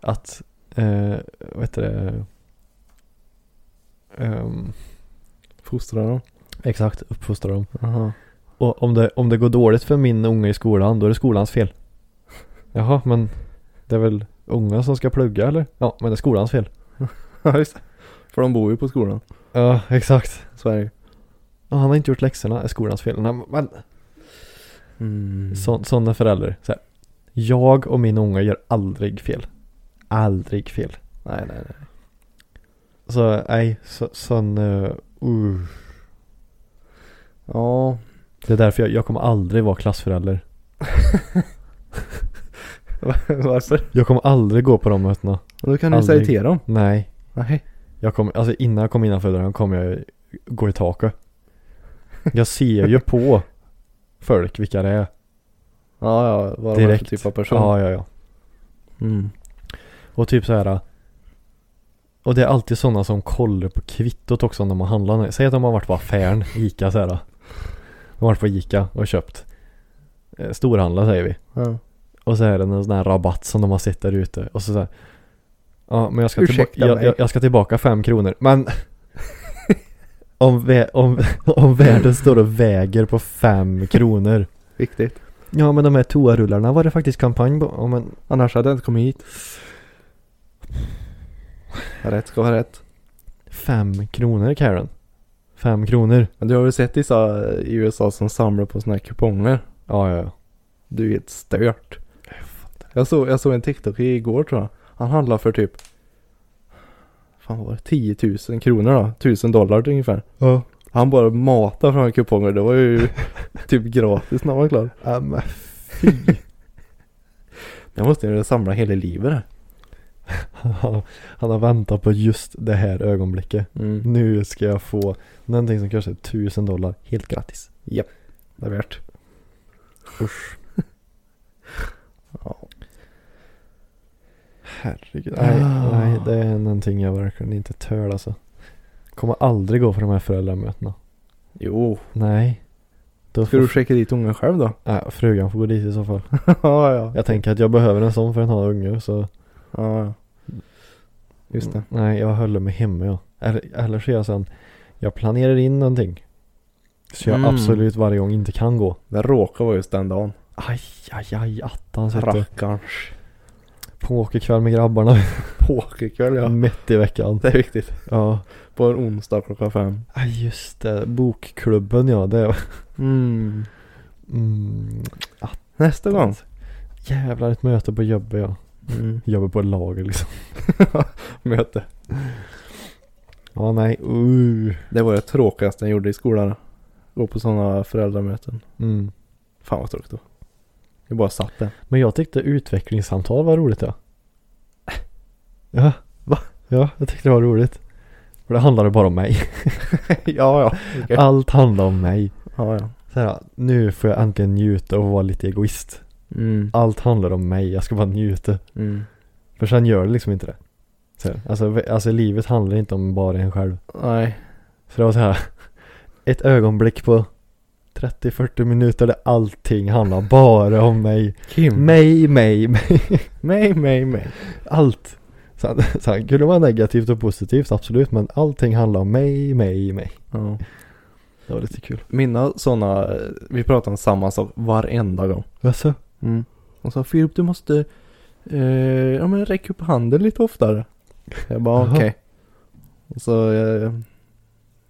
[SPEAKER 1] att, eh, vad heter det, Ehm,
[SPEAKER 2] Fostrar dem.
[SPEAKER 1] exakt uppfostra dem.
[SPEAKER 2] Jaha.
[SPEAKER 1] Och om det, om det går dåligt för min unge i skolan, då är det skolans fel. Jaha, men det är väl unga som ska plugga eller? Ja, men det är skolans fel.
[SPEAKER 2] Ja, just det. För de bor ju på skolan.
[SPEAKER 1] Ja, exakt.
[SPEAKER 2] Sverige.
[SPEAKER 1] Ja, han har inte gjort läxorna, det är skolans fel. Nej, men
[SPEAKER 2] Mm.
[SPEAKER 1] så, sådana föräldrar. Så här, jag och min unge gör aldrig fel. Aldrig fel.
[SPEAKER 2] Nej, nej, nej.
[SPEAKER 1] Så nej, så, sån... eh, uh.
[SPEAKER 2] Ja.
[SPEAKER 1] Det är därför jag, jag kommer aldrig vara klassförälder.
[SPEAKER 2] Varför?
[SPEAKER 1] Jag kommer aldrig gå på de mötena.
[SPEAKER 2] Då kan du säga
[SPEAKER 1] Aldrig.
[SPEAKER 2] till dem.
[SPEAKER 1] Nej.
[SPEAKER 2] Nej.
[SPEAKER 1] Jag kommer, alltså innan jag kommer innanför dörren kommer jag gå i taket. Jag ser ju på folk vilka det är.
[SPEAKER 2] Ja, ja. Vad de är för
[SPEAKER 1] Direkt.
[SPEAKER 2] typ av person.
[SPEAKER 1] Ja, ja, ja.
[SPEAKER 2] Mm.
[SPEAKER 1] Och typ så här. Och det är alltid sådana som kollar på kvittot också när man handlar. Säg att de har varit på affären, Ica så här. äh. De har varit på Ica och köpt. eh, Storhandla säger vi.
[SPEAKER 2] Ja.
[SPEAKER 1] Och så är det en sån här rabatt som de har sett där ute och så, så här, Ja men jag ska, tillba-
[SPEAKER 2] Ursäkta
[SPEAKER 1] jag,
[SPEAKER 2] mig.
[SPEAKER 1] jag, jag ska tillbaka fem kronor men om, vä- om, om världen står och väger på fem kronor
[SPEAKER 2] Viktigt.
[SPEAKER 1] Ja men de här toarullarna var det faktiskt kampanj på ja, men,
[SPEAKER 2] Annars hade jag inte kommit hit. Rätt ska vara rätt.
[SPEAKER 1] Fem kronor Karen Fem kronor
[SPEAKER 2] Men du har väl sett vissa i USA som samlar på såna här kuponger?
[SPEAKER 1] Ja ja ja
[SPEAKER 2] Du är helt stört. Jag såg, jag såg en TikTok igår tror jag. Han handlade för typ, fan vad var det, 10 000 kronor då? 1000 dollar ungefär.
[SPEAKER 1] Ja
[SPEAKER 2] Han bara matade fram kuponger. Det var ju typ gratis när han var klar.
[SPEAKER 1] men
[SPEAKER 2] Jag måste ju samla hela livet här.
[SPEAKER 1] han, han har väntat på just det här ögonblicket
[SPEAKER 2] Mm.
[SPEAKER 1] Nu ska jag få någonting som kanske är tusen dollar helt gratis
[SPEAKER 2] Japp, det är värt.
[SPEAKER 1] Usch.
[SPEAKER 2] Ja.
[SPEAKER 1] Herregud. Nej,
[SPEAKER 2] Ah.
[SPEAKER 1] nej, det är någonting jag verkligen inte tål alltså. Kommer aldrig gå på de här föräldramötena.
[SPEAKER 2] Jo.
[SPEAKER 1] Nej. Då
[SPEAKER 2] Ska
[SPEAKER 1] får
[SPEAKER 2] du skicka dit ungen själv då?
[SPEAKER 1] nej, frugan får gå dit i så fall.
[SPEAKER 2] ja, ja.
[SPEAKER 1] Jag tänker att jag behöver en sån för en har unge så.
[SPEAKER 2] Ja, ja. Just det.
[SPEAKER 1] Mm, Nej, jag håller mig hemma ja. Eller, eller så är jag sen. Jag planerar in någonting. Så jag
[SPEAKER 2] Mm.
[SPEAKER 1] absolut varje gång inte kan gå.
[SPEAKER 2] Det råkar vara just den dagen.
[SPEAKER 1] Aj, aj, aj, attans vet du.
[SPEAKER 2] Rackarns.
[SPEAKER 1] Pokerkväll med grabbarna.
[SPEAKER 2] Pokerkväll ja.
[SPEAKER 1] Mitt i veckan.
[SPEAKER 2] Det är viktigt.
[SPEAKER 1] Ja.
[SPEAKER 2] Mm. På en onsdag klockan fem.
[SPEAKER 1] Ja just det, bokklubben ja, det var...
[SPEAKER 2] Mm.
[SPEAKER 1] Mm,
[SPEAKER 2] Nästa gång.
[SPEAKER 1] jävlar ett möte på jobbet ja.
[SPEAKER 2] Mm.
[SPEAKER 1] Jobbet på ett lager liksom.
[SPEAKER 2] Möte.
[SPEAKER 1] Ja, nej. Uh.
[SPEAKER 2] Det var det tråkigaste jag gjorde i skolan. Gå på sådana föräldramöten.
[SPEAKER 1] Mm.
[SPEAKER 2] Fan vad tråkigt då. Jag bara satt där.
[SPEAKER 1] Men jag tyckte utvecklingssamtal var roligt ja. Ja,
[SPEAKER 2] Va?
[SPEAKER 1] Ja, jag tyckte det var roligt. För det handlade bara om mig.
[SPEAKER 2] ja, ja. Okej.
[SPEAKER 1] Allt handlade om mig.
[SPEAKER 2] Ja, ja.
[SPEAKER 1] Så här, nu får jag äntligen njuta och vara lite egoist.
[SPEAKER 2] Mm.
[SPEAKER 1] Allt handlar om mig, jag ska bara njuta.
[SPEAKER 2] Mm.
[SPEAKER 1] För sen gör det liksom inte det. Så här, alltså, v- alltså livet handlar inte om bara en själv.
[SPEAKER 2] Nej.
[SPEAKER 1] Så det var så här. Ett ögonblick på 30-40 minuter där allting handlar bara om mig.
[SPEAKER 2] Kim.
[SPEAKER 1] Mig, mig, mig.
[SPEAKER 2] Mm. Mig, mig, mig.
[SPEAKER 1] Allt. Sen, sen kunde det vara negativt och positivt, absolut. Men allting handlar om mig, mig, mig.
[SPEAKER 2] Ja.
[SPEAKER 1] Det typ. var lite kul.
[SPEAKER 2] Mina sådana, vi pratar om samma sak varenda gång.
[SPEAKER 1] Jaså?
[SPEAKER 2] Mm. Och sa Filip du måste, eh, ja men räck upp handen lite oftare. Jag bara
[SPEAKER 1] Jaha.
[SPEAKER 2] okej. Och så eh,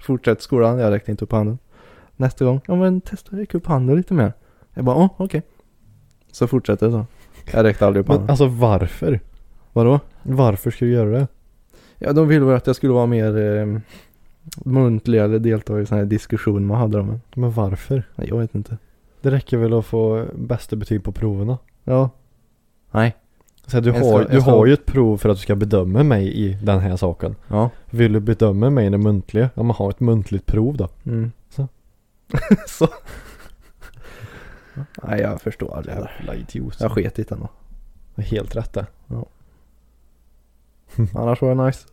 [SPEAKER 2] fortsätter skolan, jag räckte inte upp handen. Nästa gång, ja men testa räck upp handen lite mer. Jag bara, åh okej. Så fortsätter det så. Jag räckte aldrig upp
[SPEAKER 1] Men
[SPEAKER 2] handen.
[SPEAKER 1] alltså varför?
[SPEAKER 2] Vadå?
[SPEAKER 1] Varför ska du göra det?
[SPEAKER 2] Ja de ville väl att jag skulle vara mer eh, muntlig eller delta i sådana här diskussioner man hade om en.
[SPEAKER 1] Men varför?
[SPEAKER 2] Nej, jag vet inte.
[SPEAKER 1] Det räcker väl att få bästa betyg på proverna?
[SPEAKER 2] Ja. Nej.
[SPEAKER 1] Så här, du,
[SPEAKER 2] Jag
[SPEAKER 1] har,
[SPEAKER 2] ska-
[SPEAKER 1] du
[SPEAKER 2] jag ska-
[SPEAKER 1] har ju ett prov för att du ska bedöma mig i den här saken.
[SPEAKER 2] Ja.
[SPEAKER 1] Vill du bedöma mig i det muntliga? Ja men ha ett muntligt prov då.
[SPEAKER 2] Mm.
[SPEAKER 1] Så.
[SPEAKER 2] så. Nej, jag förstår aldrig det där.
[SPEAKER 1] Jävla idiot.
[SPEAKER 2] Jag sket i den då.
[SPEAKER 1] Det är Helt rätt det.
[SPEAKER 2] Annars var det nice.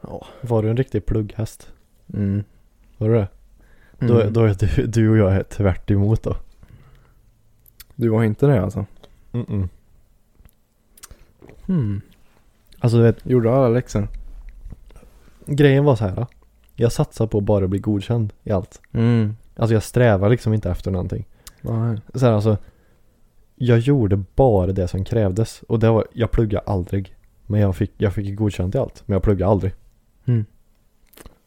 [SPEAKER 2] Ja.
[SPEAKER 1] Var du en riktig plugghäst?
[SPEAKER 2] Mm.
[SPEAKER 1] Var du det? Då,
[SPEAKER 2] Mm.
[SPEAKER 1] då är du, du och jag är tvärt emot då.
[SPEAKER 2] Du var inte det alltså?
[SPEAKER 1] Mm-mm.
[SPEAKER 2] Mm.
[SPEAKER 1] Alltså du vet,
[SPEAKER 2] Gjorde alla läxor?
[SPEAKER 1] grejen var så här. Då. Jag satsar på att bara bli godkänd i allt.
[SPEAKER 2] Mm.
[SPEAKER 1] Alltså jag strävar liksom inte efter någonting.
[SPEAKER 2] Nej.
[SPEAKER 1] Så här, alltså, jag gjorde bara det som krävdes och det var, jag pluggade aldrig. Men jag fick, jag fick godkänt i allt, men jag pluggade aldrig.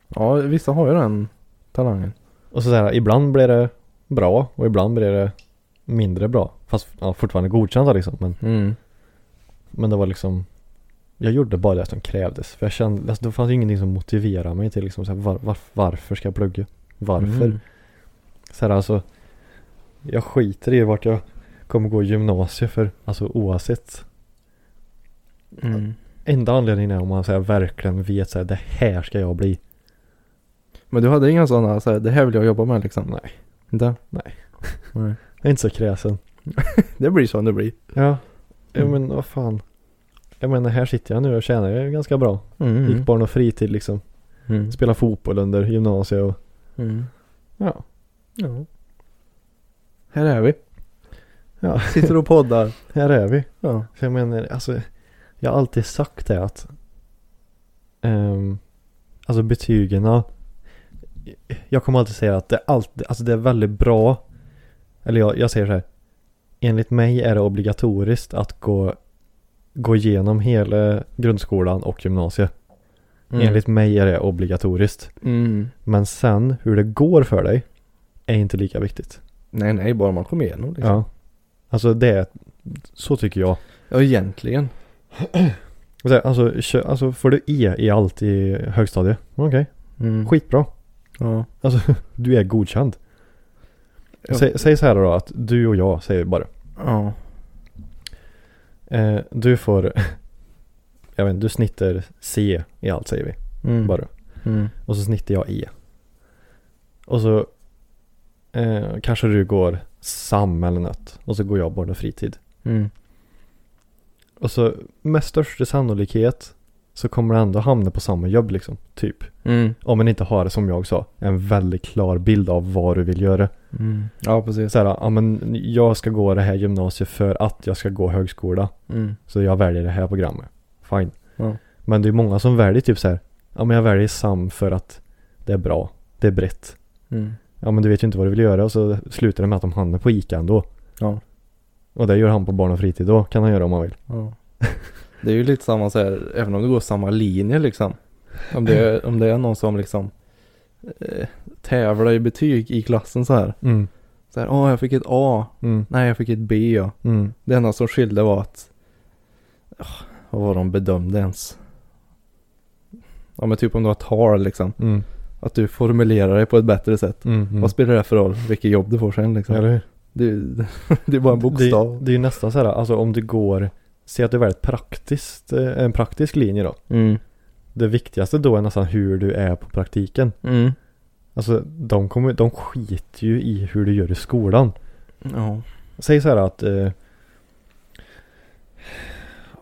[SPEAKER 2] Ja, vissa har ju den talangen.
[SPEAKER 1] Och så, så här, ibland blev det bra och ibland blev det mindre bra. Fast ja, fortfarande godkända liksom. Men,
[SPEAKER 2] Mm.
[SPEAKER 1] men det var liksom, jag gjorde bara det som krävdes. För jag kände, alltså, det fanns ju ingenting som motiverade mig till liksom, så här, var, var, varför ska jag plugga? Varför?
[SPEAKER 2] Mm.
[SPEAKER 1] Så här, alltså, jag skiter i vart jag kommer gå i gymnasiet för, alltså oavsett.
[SPEAKER 2] Mm.
[SPEAKER 1] Enda anledningen är om man säger verkligen vet så här, det här ska jag bli.
[SPEAKER 2] Men du hade inga sådana, så här, det här vill jag jobba med liksom?
[SPEAKER 1] Nej.
[SPEAKER 2] Inte?
[SPEAKER 1] Nej.
[SPEAKER 2] Nej.
[SPEAKER 1] Jag är inte så kräsen.
[SPEAKER 2] Det blir så det blir.
[SPEAKER 1] Ja.
[SPEAKER 2] Mm.
[SPEAKER 1] men vad fan. Jag menar här sitter jag nu och tjänar ju ganska bra.
[SPEAKER 2] Mm.
[SPEAKER 1] Gick barn och fritid liksom.
[SPEAKER 2] Mm.
[SPEAKER 1] Spelade fotboll under gymnasiet och
[SPEAKER 2] Mm.
[SPEAKER 1] ja.
[SPEAKER 2] Ja. Här är vi.
[SPEAKER 1] Ja.
[SPEAKER 2] Sitter och poddar.
[SPEAKER 1] Här är vi.
[SPEAKER 2] Ja.
[SPEAKER 1] Så jag menar alltså. Jag har alltid sagt det att. ehm, alltså betygen. Jag kommer alltid säga att det, alltid, alltså det är väldigt bra. Eller jag, jag säger så här. Enligt mig är det obligatoriskt att gå, gå igenom hela grundskolan och gymnasiet. Enligt mig är det obligatoriskt.
[SPEAKER 2] Mm.
[SPEAKER 1] Men sen hur det går för dig är inte lika viktigt.
[SPEAKER 2] Nej, nej, bara man kommer igenom liksom.
[SPEAKER 1] Ja. Alltså det är, så tycker jag.
[SPEAKER 2] Ja, egentligen.
[SPEAKER 1] Och så här, Alltså, kö- alltså får du E i allt i högstadiet? Okej,
[SPEAKER 2] Mm.
[SPEAKER 1] skitbra.
[SPEAKER 2] Ja.
[SPEAKER 1] Alltså du är godkänd.
[SPEAKER 2] Ja.
[SPEAKER 1] Säg, säg så här då att du och jag säger bara.
[SPEAKER 2] Ja.
[SPEAKER 1] Eh, du får, jag vet inte, du snittar C i allt säger vi
[SPEAKER 2] Mm.
[SPEAKER 1] bara.
[SPEAKER 2] Mm.
[SPEAKER 1] Och så snittar jag E. Och så eh, kanske du går SAM eller något. Och så går jag barn och fritid.
[SPEAKER 2] Mm.
[SPEAKER 1] Och så med största sannolikhet så kommer du ändå hamna på samma jobb liksom, typ.
[SPEAKER 2] Mm.
[SPEAKER 1] Om man inte har, som jag sa, en väldigt klar bild av vad du vill göra.
[SPEAKER 2] Mm. Ja, precis.
[SPEAKER 1] Så här, ja men jag ska gå det här gymnasiet för att jag ska gå högskola.
[SPEAKER 2] Mm.
[SPEAKER 1] Så jag väljer det här programmet. Fine.
[SPEAKER 2] Ja.
[SPEAKER 1] Men det är många som väljer typ så här, ja men jag väljer SAM för att det är bra, det är brett.
[SPEAKER 2] Mm.
[SPEAKER 1] Ja men du vet ju inte vad du vill göra och så slutar det med att de hamnar på ICA ändå.
[SPEAKER 2] Ja.
[SPEAKER 1] Och det gör han på barn och fritid då, kan han göra om han vill.
[SPEAKER 2] ja. Det är ju lite samma så här, även om det går samma linje liksom. Om det är, om det är någon som liksom eh, tävlar i betyg i klassen så här.
[SPEAKER 1] Mm,
[SPEAKER 2] Så här, åh jag fick ett A.
[SPEAKER 1] mm,
[SPEAKER 2] Nej, jag fick ett B ja.
[SPEAKER 1] mm,
[SPEAKER 2] Det enda som skilde var att ah, Och vad de bedömde ens. Ja men typ om du har tal liksom.
[SPEAKER 1] Mm.
[SPEAKER 2] Att du formulerar dig på ett bättre sätt.
[SPEAKER 1] Mm. Mm.
[SPEAKER 2] Vad spelar det för roll vilket jobb du får sen liksom?
[SPEAKER 1] Eller hur?
[SPEAKER 2] Det, det är bara en bokstav.
[SPEAKER 1] Det, det är ju nästan så här, alltså om du går, se att du väljer ett praktiskt, eh, en praktisk linje då.
[SPEAKER 2] Mm.
[SPEAKER 1] Det viktigaste då är nästan hur du är på praktiken.
[SPEAKER 2] Mm.
[SPEAKER 1] Alltså de, kommer, de skiter ju i hur du gör i skolan.
[SPEAKER 2] Ja.
[SPEAKER 1] Säg så här att... Eh,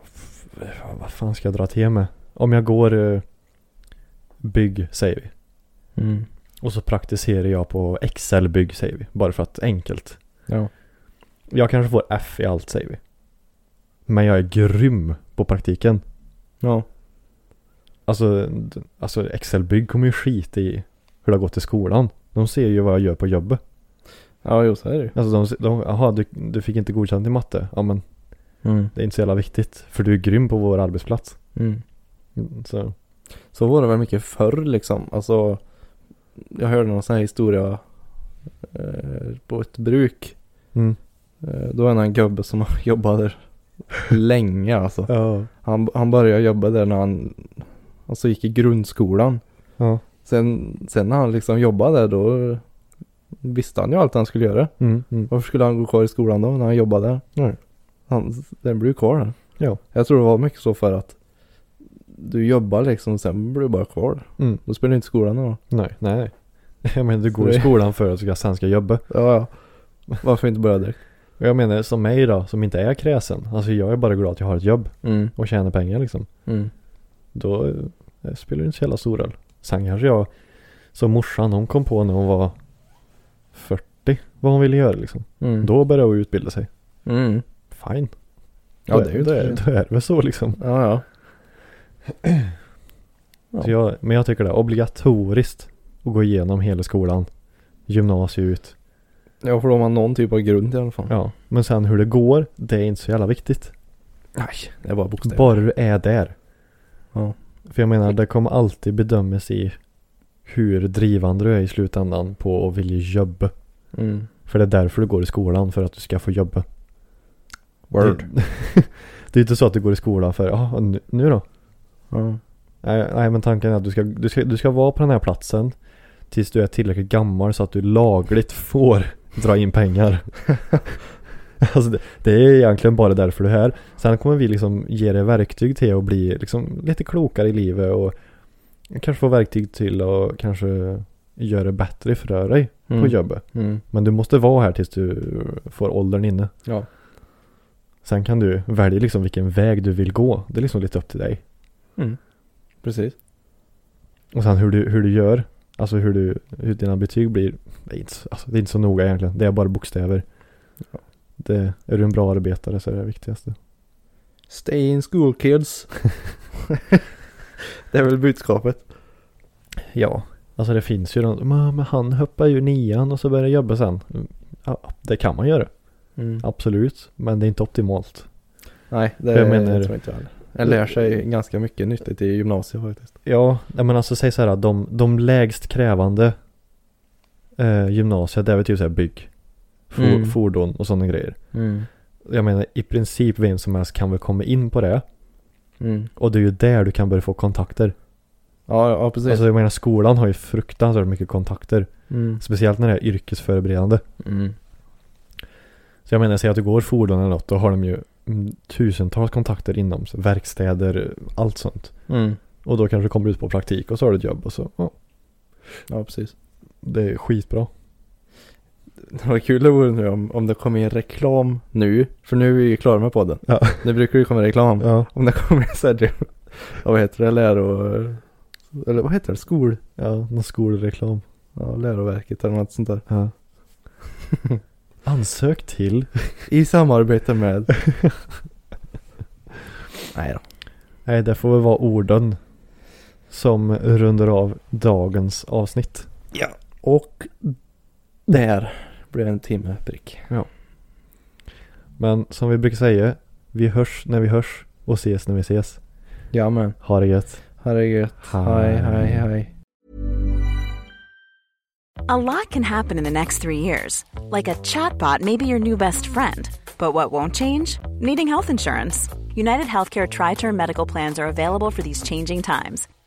[SPEAKER 1] f- vad fan ska jag dra till med? Om jag går eh, bygg säger vi.
[SPEAKER 2] Mm.
[SPEAKER 1] Och så praktiserar jag på Excel-bygg säger vi. Bara för att enkelt.
[SPEAKER 2] Ja.
[SPEAKER 1] Jag kanske får F i allt säger vi. Men jag är grym på praktiken.
[SPEAKER 2] Ja.
[SPEAKER 1] Alltså, d- alltså Excel-bygg kommer ju skita i hur det har gått i skolan. De ser ju vad jag gör på jobbet.
[SPEAKER 2] Ja, jo så är det ju.
[SPEAKER 1] Alltså de, se- de jaha du, du fick inte godkänt i matte. Ja men
[SPEAKER 2] Mm.
[SPEAKER 1] det är inte så jävla viktigt. För du är grym på vår arbetsplats.
[SPEAKER 2] Mm.
[SPEAKER 1] Mm, Så,
[SPEAKER 2] Så var det väl mycket förr liksom. Alltså, jag hörde någon sån här historia eh, på ett bruk.
[SPEAKER 1] mm.
[SPEAKER 2] Eh, då var det en gubbe som jobbade där länge alltså.
[SPEAKER 1] Ja.
[SPEAKER 2] Han, han började jobba där när han alltså, gick i grundskolan.
[SPEAKER 1] Ja.
[SPEAKER 2] Sen, sen när han liksom jobbade där då visste han ju allt han skulle göra.
[SPEAKER 1] Mm, mm.
[SPEAKER 2] Varför skulle han gå kvar i skolan då när han jobbade där?
[SPEAKER 1] Nej.
[SPEAKER 2] Han, den blir ju kvar där.
[SPEAKER 1] Ja.
[SPEAKER 2] Jag tror det var mycket så för att du jobbar liksom sen blir du bara kvar där.
[SPEAKER 1] Mm.
[SPEAKER 2] Då spelar inte skolan någon roll.
[SPEAKER 1] Nej, nej, nej. Jag menar du
[SPEAKER 2] Så
[SPEAKER 1] går
[SPEAKER 2] det-
[SPEAKER 1] i skolan för att du ska- sen ska jobba.
[SPEAKER 2] Ja, ja. Varför inte börja direkt?
[SPEAKER 1] Och jag menar som mig då, som inte är kräsen. Alltså jag är bara glad att jag har ett jobb
[SPEAKER 2] Mm.
[SPEAKER 1] och tjänar pengar liksom.
[SPEAKER 2] Mm.
[SPEAKER 1] Då eh, spelar det inte så jävla stor roll. Sen kanske jag, som morsan hon kom på när hon var 40, vad hon ville göra liksom.
[SPEAKER 2] Mm.
[SPEAKER 1] Då började hon utbilda sig.
[SPEAKER 2] Mm.
[SPEAKER 1] Fine.
[SPEAKER 2] Ja, det är ju
[SPEAKER 1] då, är,
[SPEAKER 2] inte
[SPEAKER 1] då är det väl så liksom.
[SPEAKER 2] Ja, ja. Ja.
[SPEAKER 1] Så jag, men jag tycker det är obligatoriskt att gå igenom hela skolan. Gymnasiet.
[SPEAKER 2] Ja, för då har man någon typ av grund i alla fall.
[SPEAKER 1] Ja. Men sen hur det går, det är inte så jävla viktigt.
[SPEAKER 2] Nej, det är bara bokstäver.
[SPEAKER 1] Bara du är där.
[SPEAKER 2] Ja.
[SPEAKER 1] För jag menar, det kommer alltid bedömas i hur drivande du är i slutändan på att vilja jobba.
[SPEAKER 2] Mm.
[SPEAKER 1] För det är därför du går i skolan, för att du ska få jobba.
[SPEAKER 2] Word.
[SPEAKER 1] Det, det är inte så att du går i skolan för, ja, nu, nu då?
[SPEAKER 2] Ja.
[SPEAKER 1] Nej, nej, men tanken är att du ska, du, ska, du ska vara på den här platsen tills du är tillräckligt gammal så att du lagligt får dra in pengar. alltså det, det är egentligen bara därför du är här. Sen kommer vi liksom ge dig verktyg till att bli liksom lite klokare i livet och kanske få verktyg till att kanske göra det bättre för dig
[SPEAKER 2] Mm.
[SPEAKER 1] på jobbet.
[SPEAKER 2] Mm.
[SPEAKER 1] Men du måste vara här tills du får åldern inne.
[SPEAKER 2] Ja.
[SPEAKER 1] Sen kan du välja liksom vilken väg du vill gå. Det är liksom lite upp till dig.
[SPEAKER 2] Mm. Precis.
[SPEAKER 1] Och sen hur du, hur du gör, alltså hur, du, hur dina betyg blir, det är, inte, så- alltså det är inte så noga egentligen. Det är bara bokstäver. Det, är du en bra arbetare så är det det viktigaste.
[SPEAKER 2] Stay in school kids. det är väl budskapet.
[SPEAKER 1] Ja. Alltså det finns ju de, men men han hoppar ju nian och så börjar jobba sen. Mm, Ja, det kan man göra,
[SPEAKER 2] Mm.
[SPEAKER 1] absolut. Men det är inte optimalt.
[SPEAKER 2] Nej, det
[SPEAKER 1] Jag menar-
[SPEAKER 2] tror jag inte jag heller. Jag lär sig ganska mycket nyttigt i gymnasiet faktiskt.
[SPEAKER 1] Ja, nej, men alltså säg så här att de, de lägst krävande eh, gymnasiet, det är väl typ så här bygg, for,
[SPEAKER 2] Mm.
[SPEAKER 1] fordon och sådana grejer. Jag menar i princip vem som helst kan väl komma in på det.
[SPEAKER 2] Mm.
[SPEAKER 1] Och det är ju där du kan börja få kontakter.
[SPEAKER 2] Ja, ja precis.
[SPEAKER 1] Alltså jag menar skolan har ju fruktansvärt mycket kontakter.
[SPEAKER 2] mm.
[SPEAKER 1] Speciellt när det är yrkesförberedande.
[SPEAKER 2] Mm.
[SPEAKER 1] Så jag menar, säg att du går fordon eller något, då har de ju mm, tusentals kontakter inom sig. Verkstäder, allt sånt.
[SPEAKER 2] Mm.
[SPEAKER 1] Och då kanske du kommer ut på praktik och så har du ett jobb och så, ja,
[SPEAKER 2] Ja, precis.
[SPEAKER 1] det är skitbra.
[SPEAKER 2] Det var kul det vore nu om, om det kom in reklam nu. För nu är vi ju klara med podden.
[SPEAKER 1] Ja.
[SPEAKER 2] Nu brukar det ju komma reklam.
[SPEAKER 1] Ja,
[SPEAKER 2] Om det kommer in såhär, ja, vad heter det, läro... Eller vad heter det, skol...
[SPEAKER 1] ja, någon skolreklam.
[SPEAKER 2] Ja, läroverket eller något sånt där.
[SPEAKER 1] Ja. Ansök till.
[SPEAKER 2] I samarbete med... Nej då.
[SPEAKER 1] Nej, det får väl vara orden som rundar av dagens avsnitt.
[SPEAKER 2] Och där blev en timme prick.
[SPEAKER 1] Men som vi brukar säga, vi hörs när vi hörs och ses när vi ses.
[SPEAKER 2] Ja men,
[SPEAKER 1] Ha det gött.
[SPEAKER 2] herregud. Hej, hej, hej.
[SPEAKER 6] A lot can happen in the next three years. Like a chatbot may be your new best friend. But what won't change? Needing health insurance. United Healthcare Tri Term Medical Plans are available for these changing times.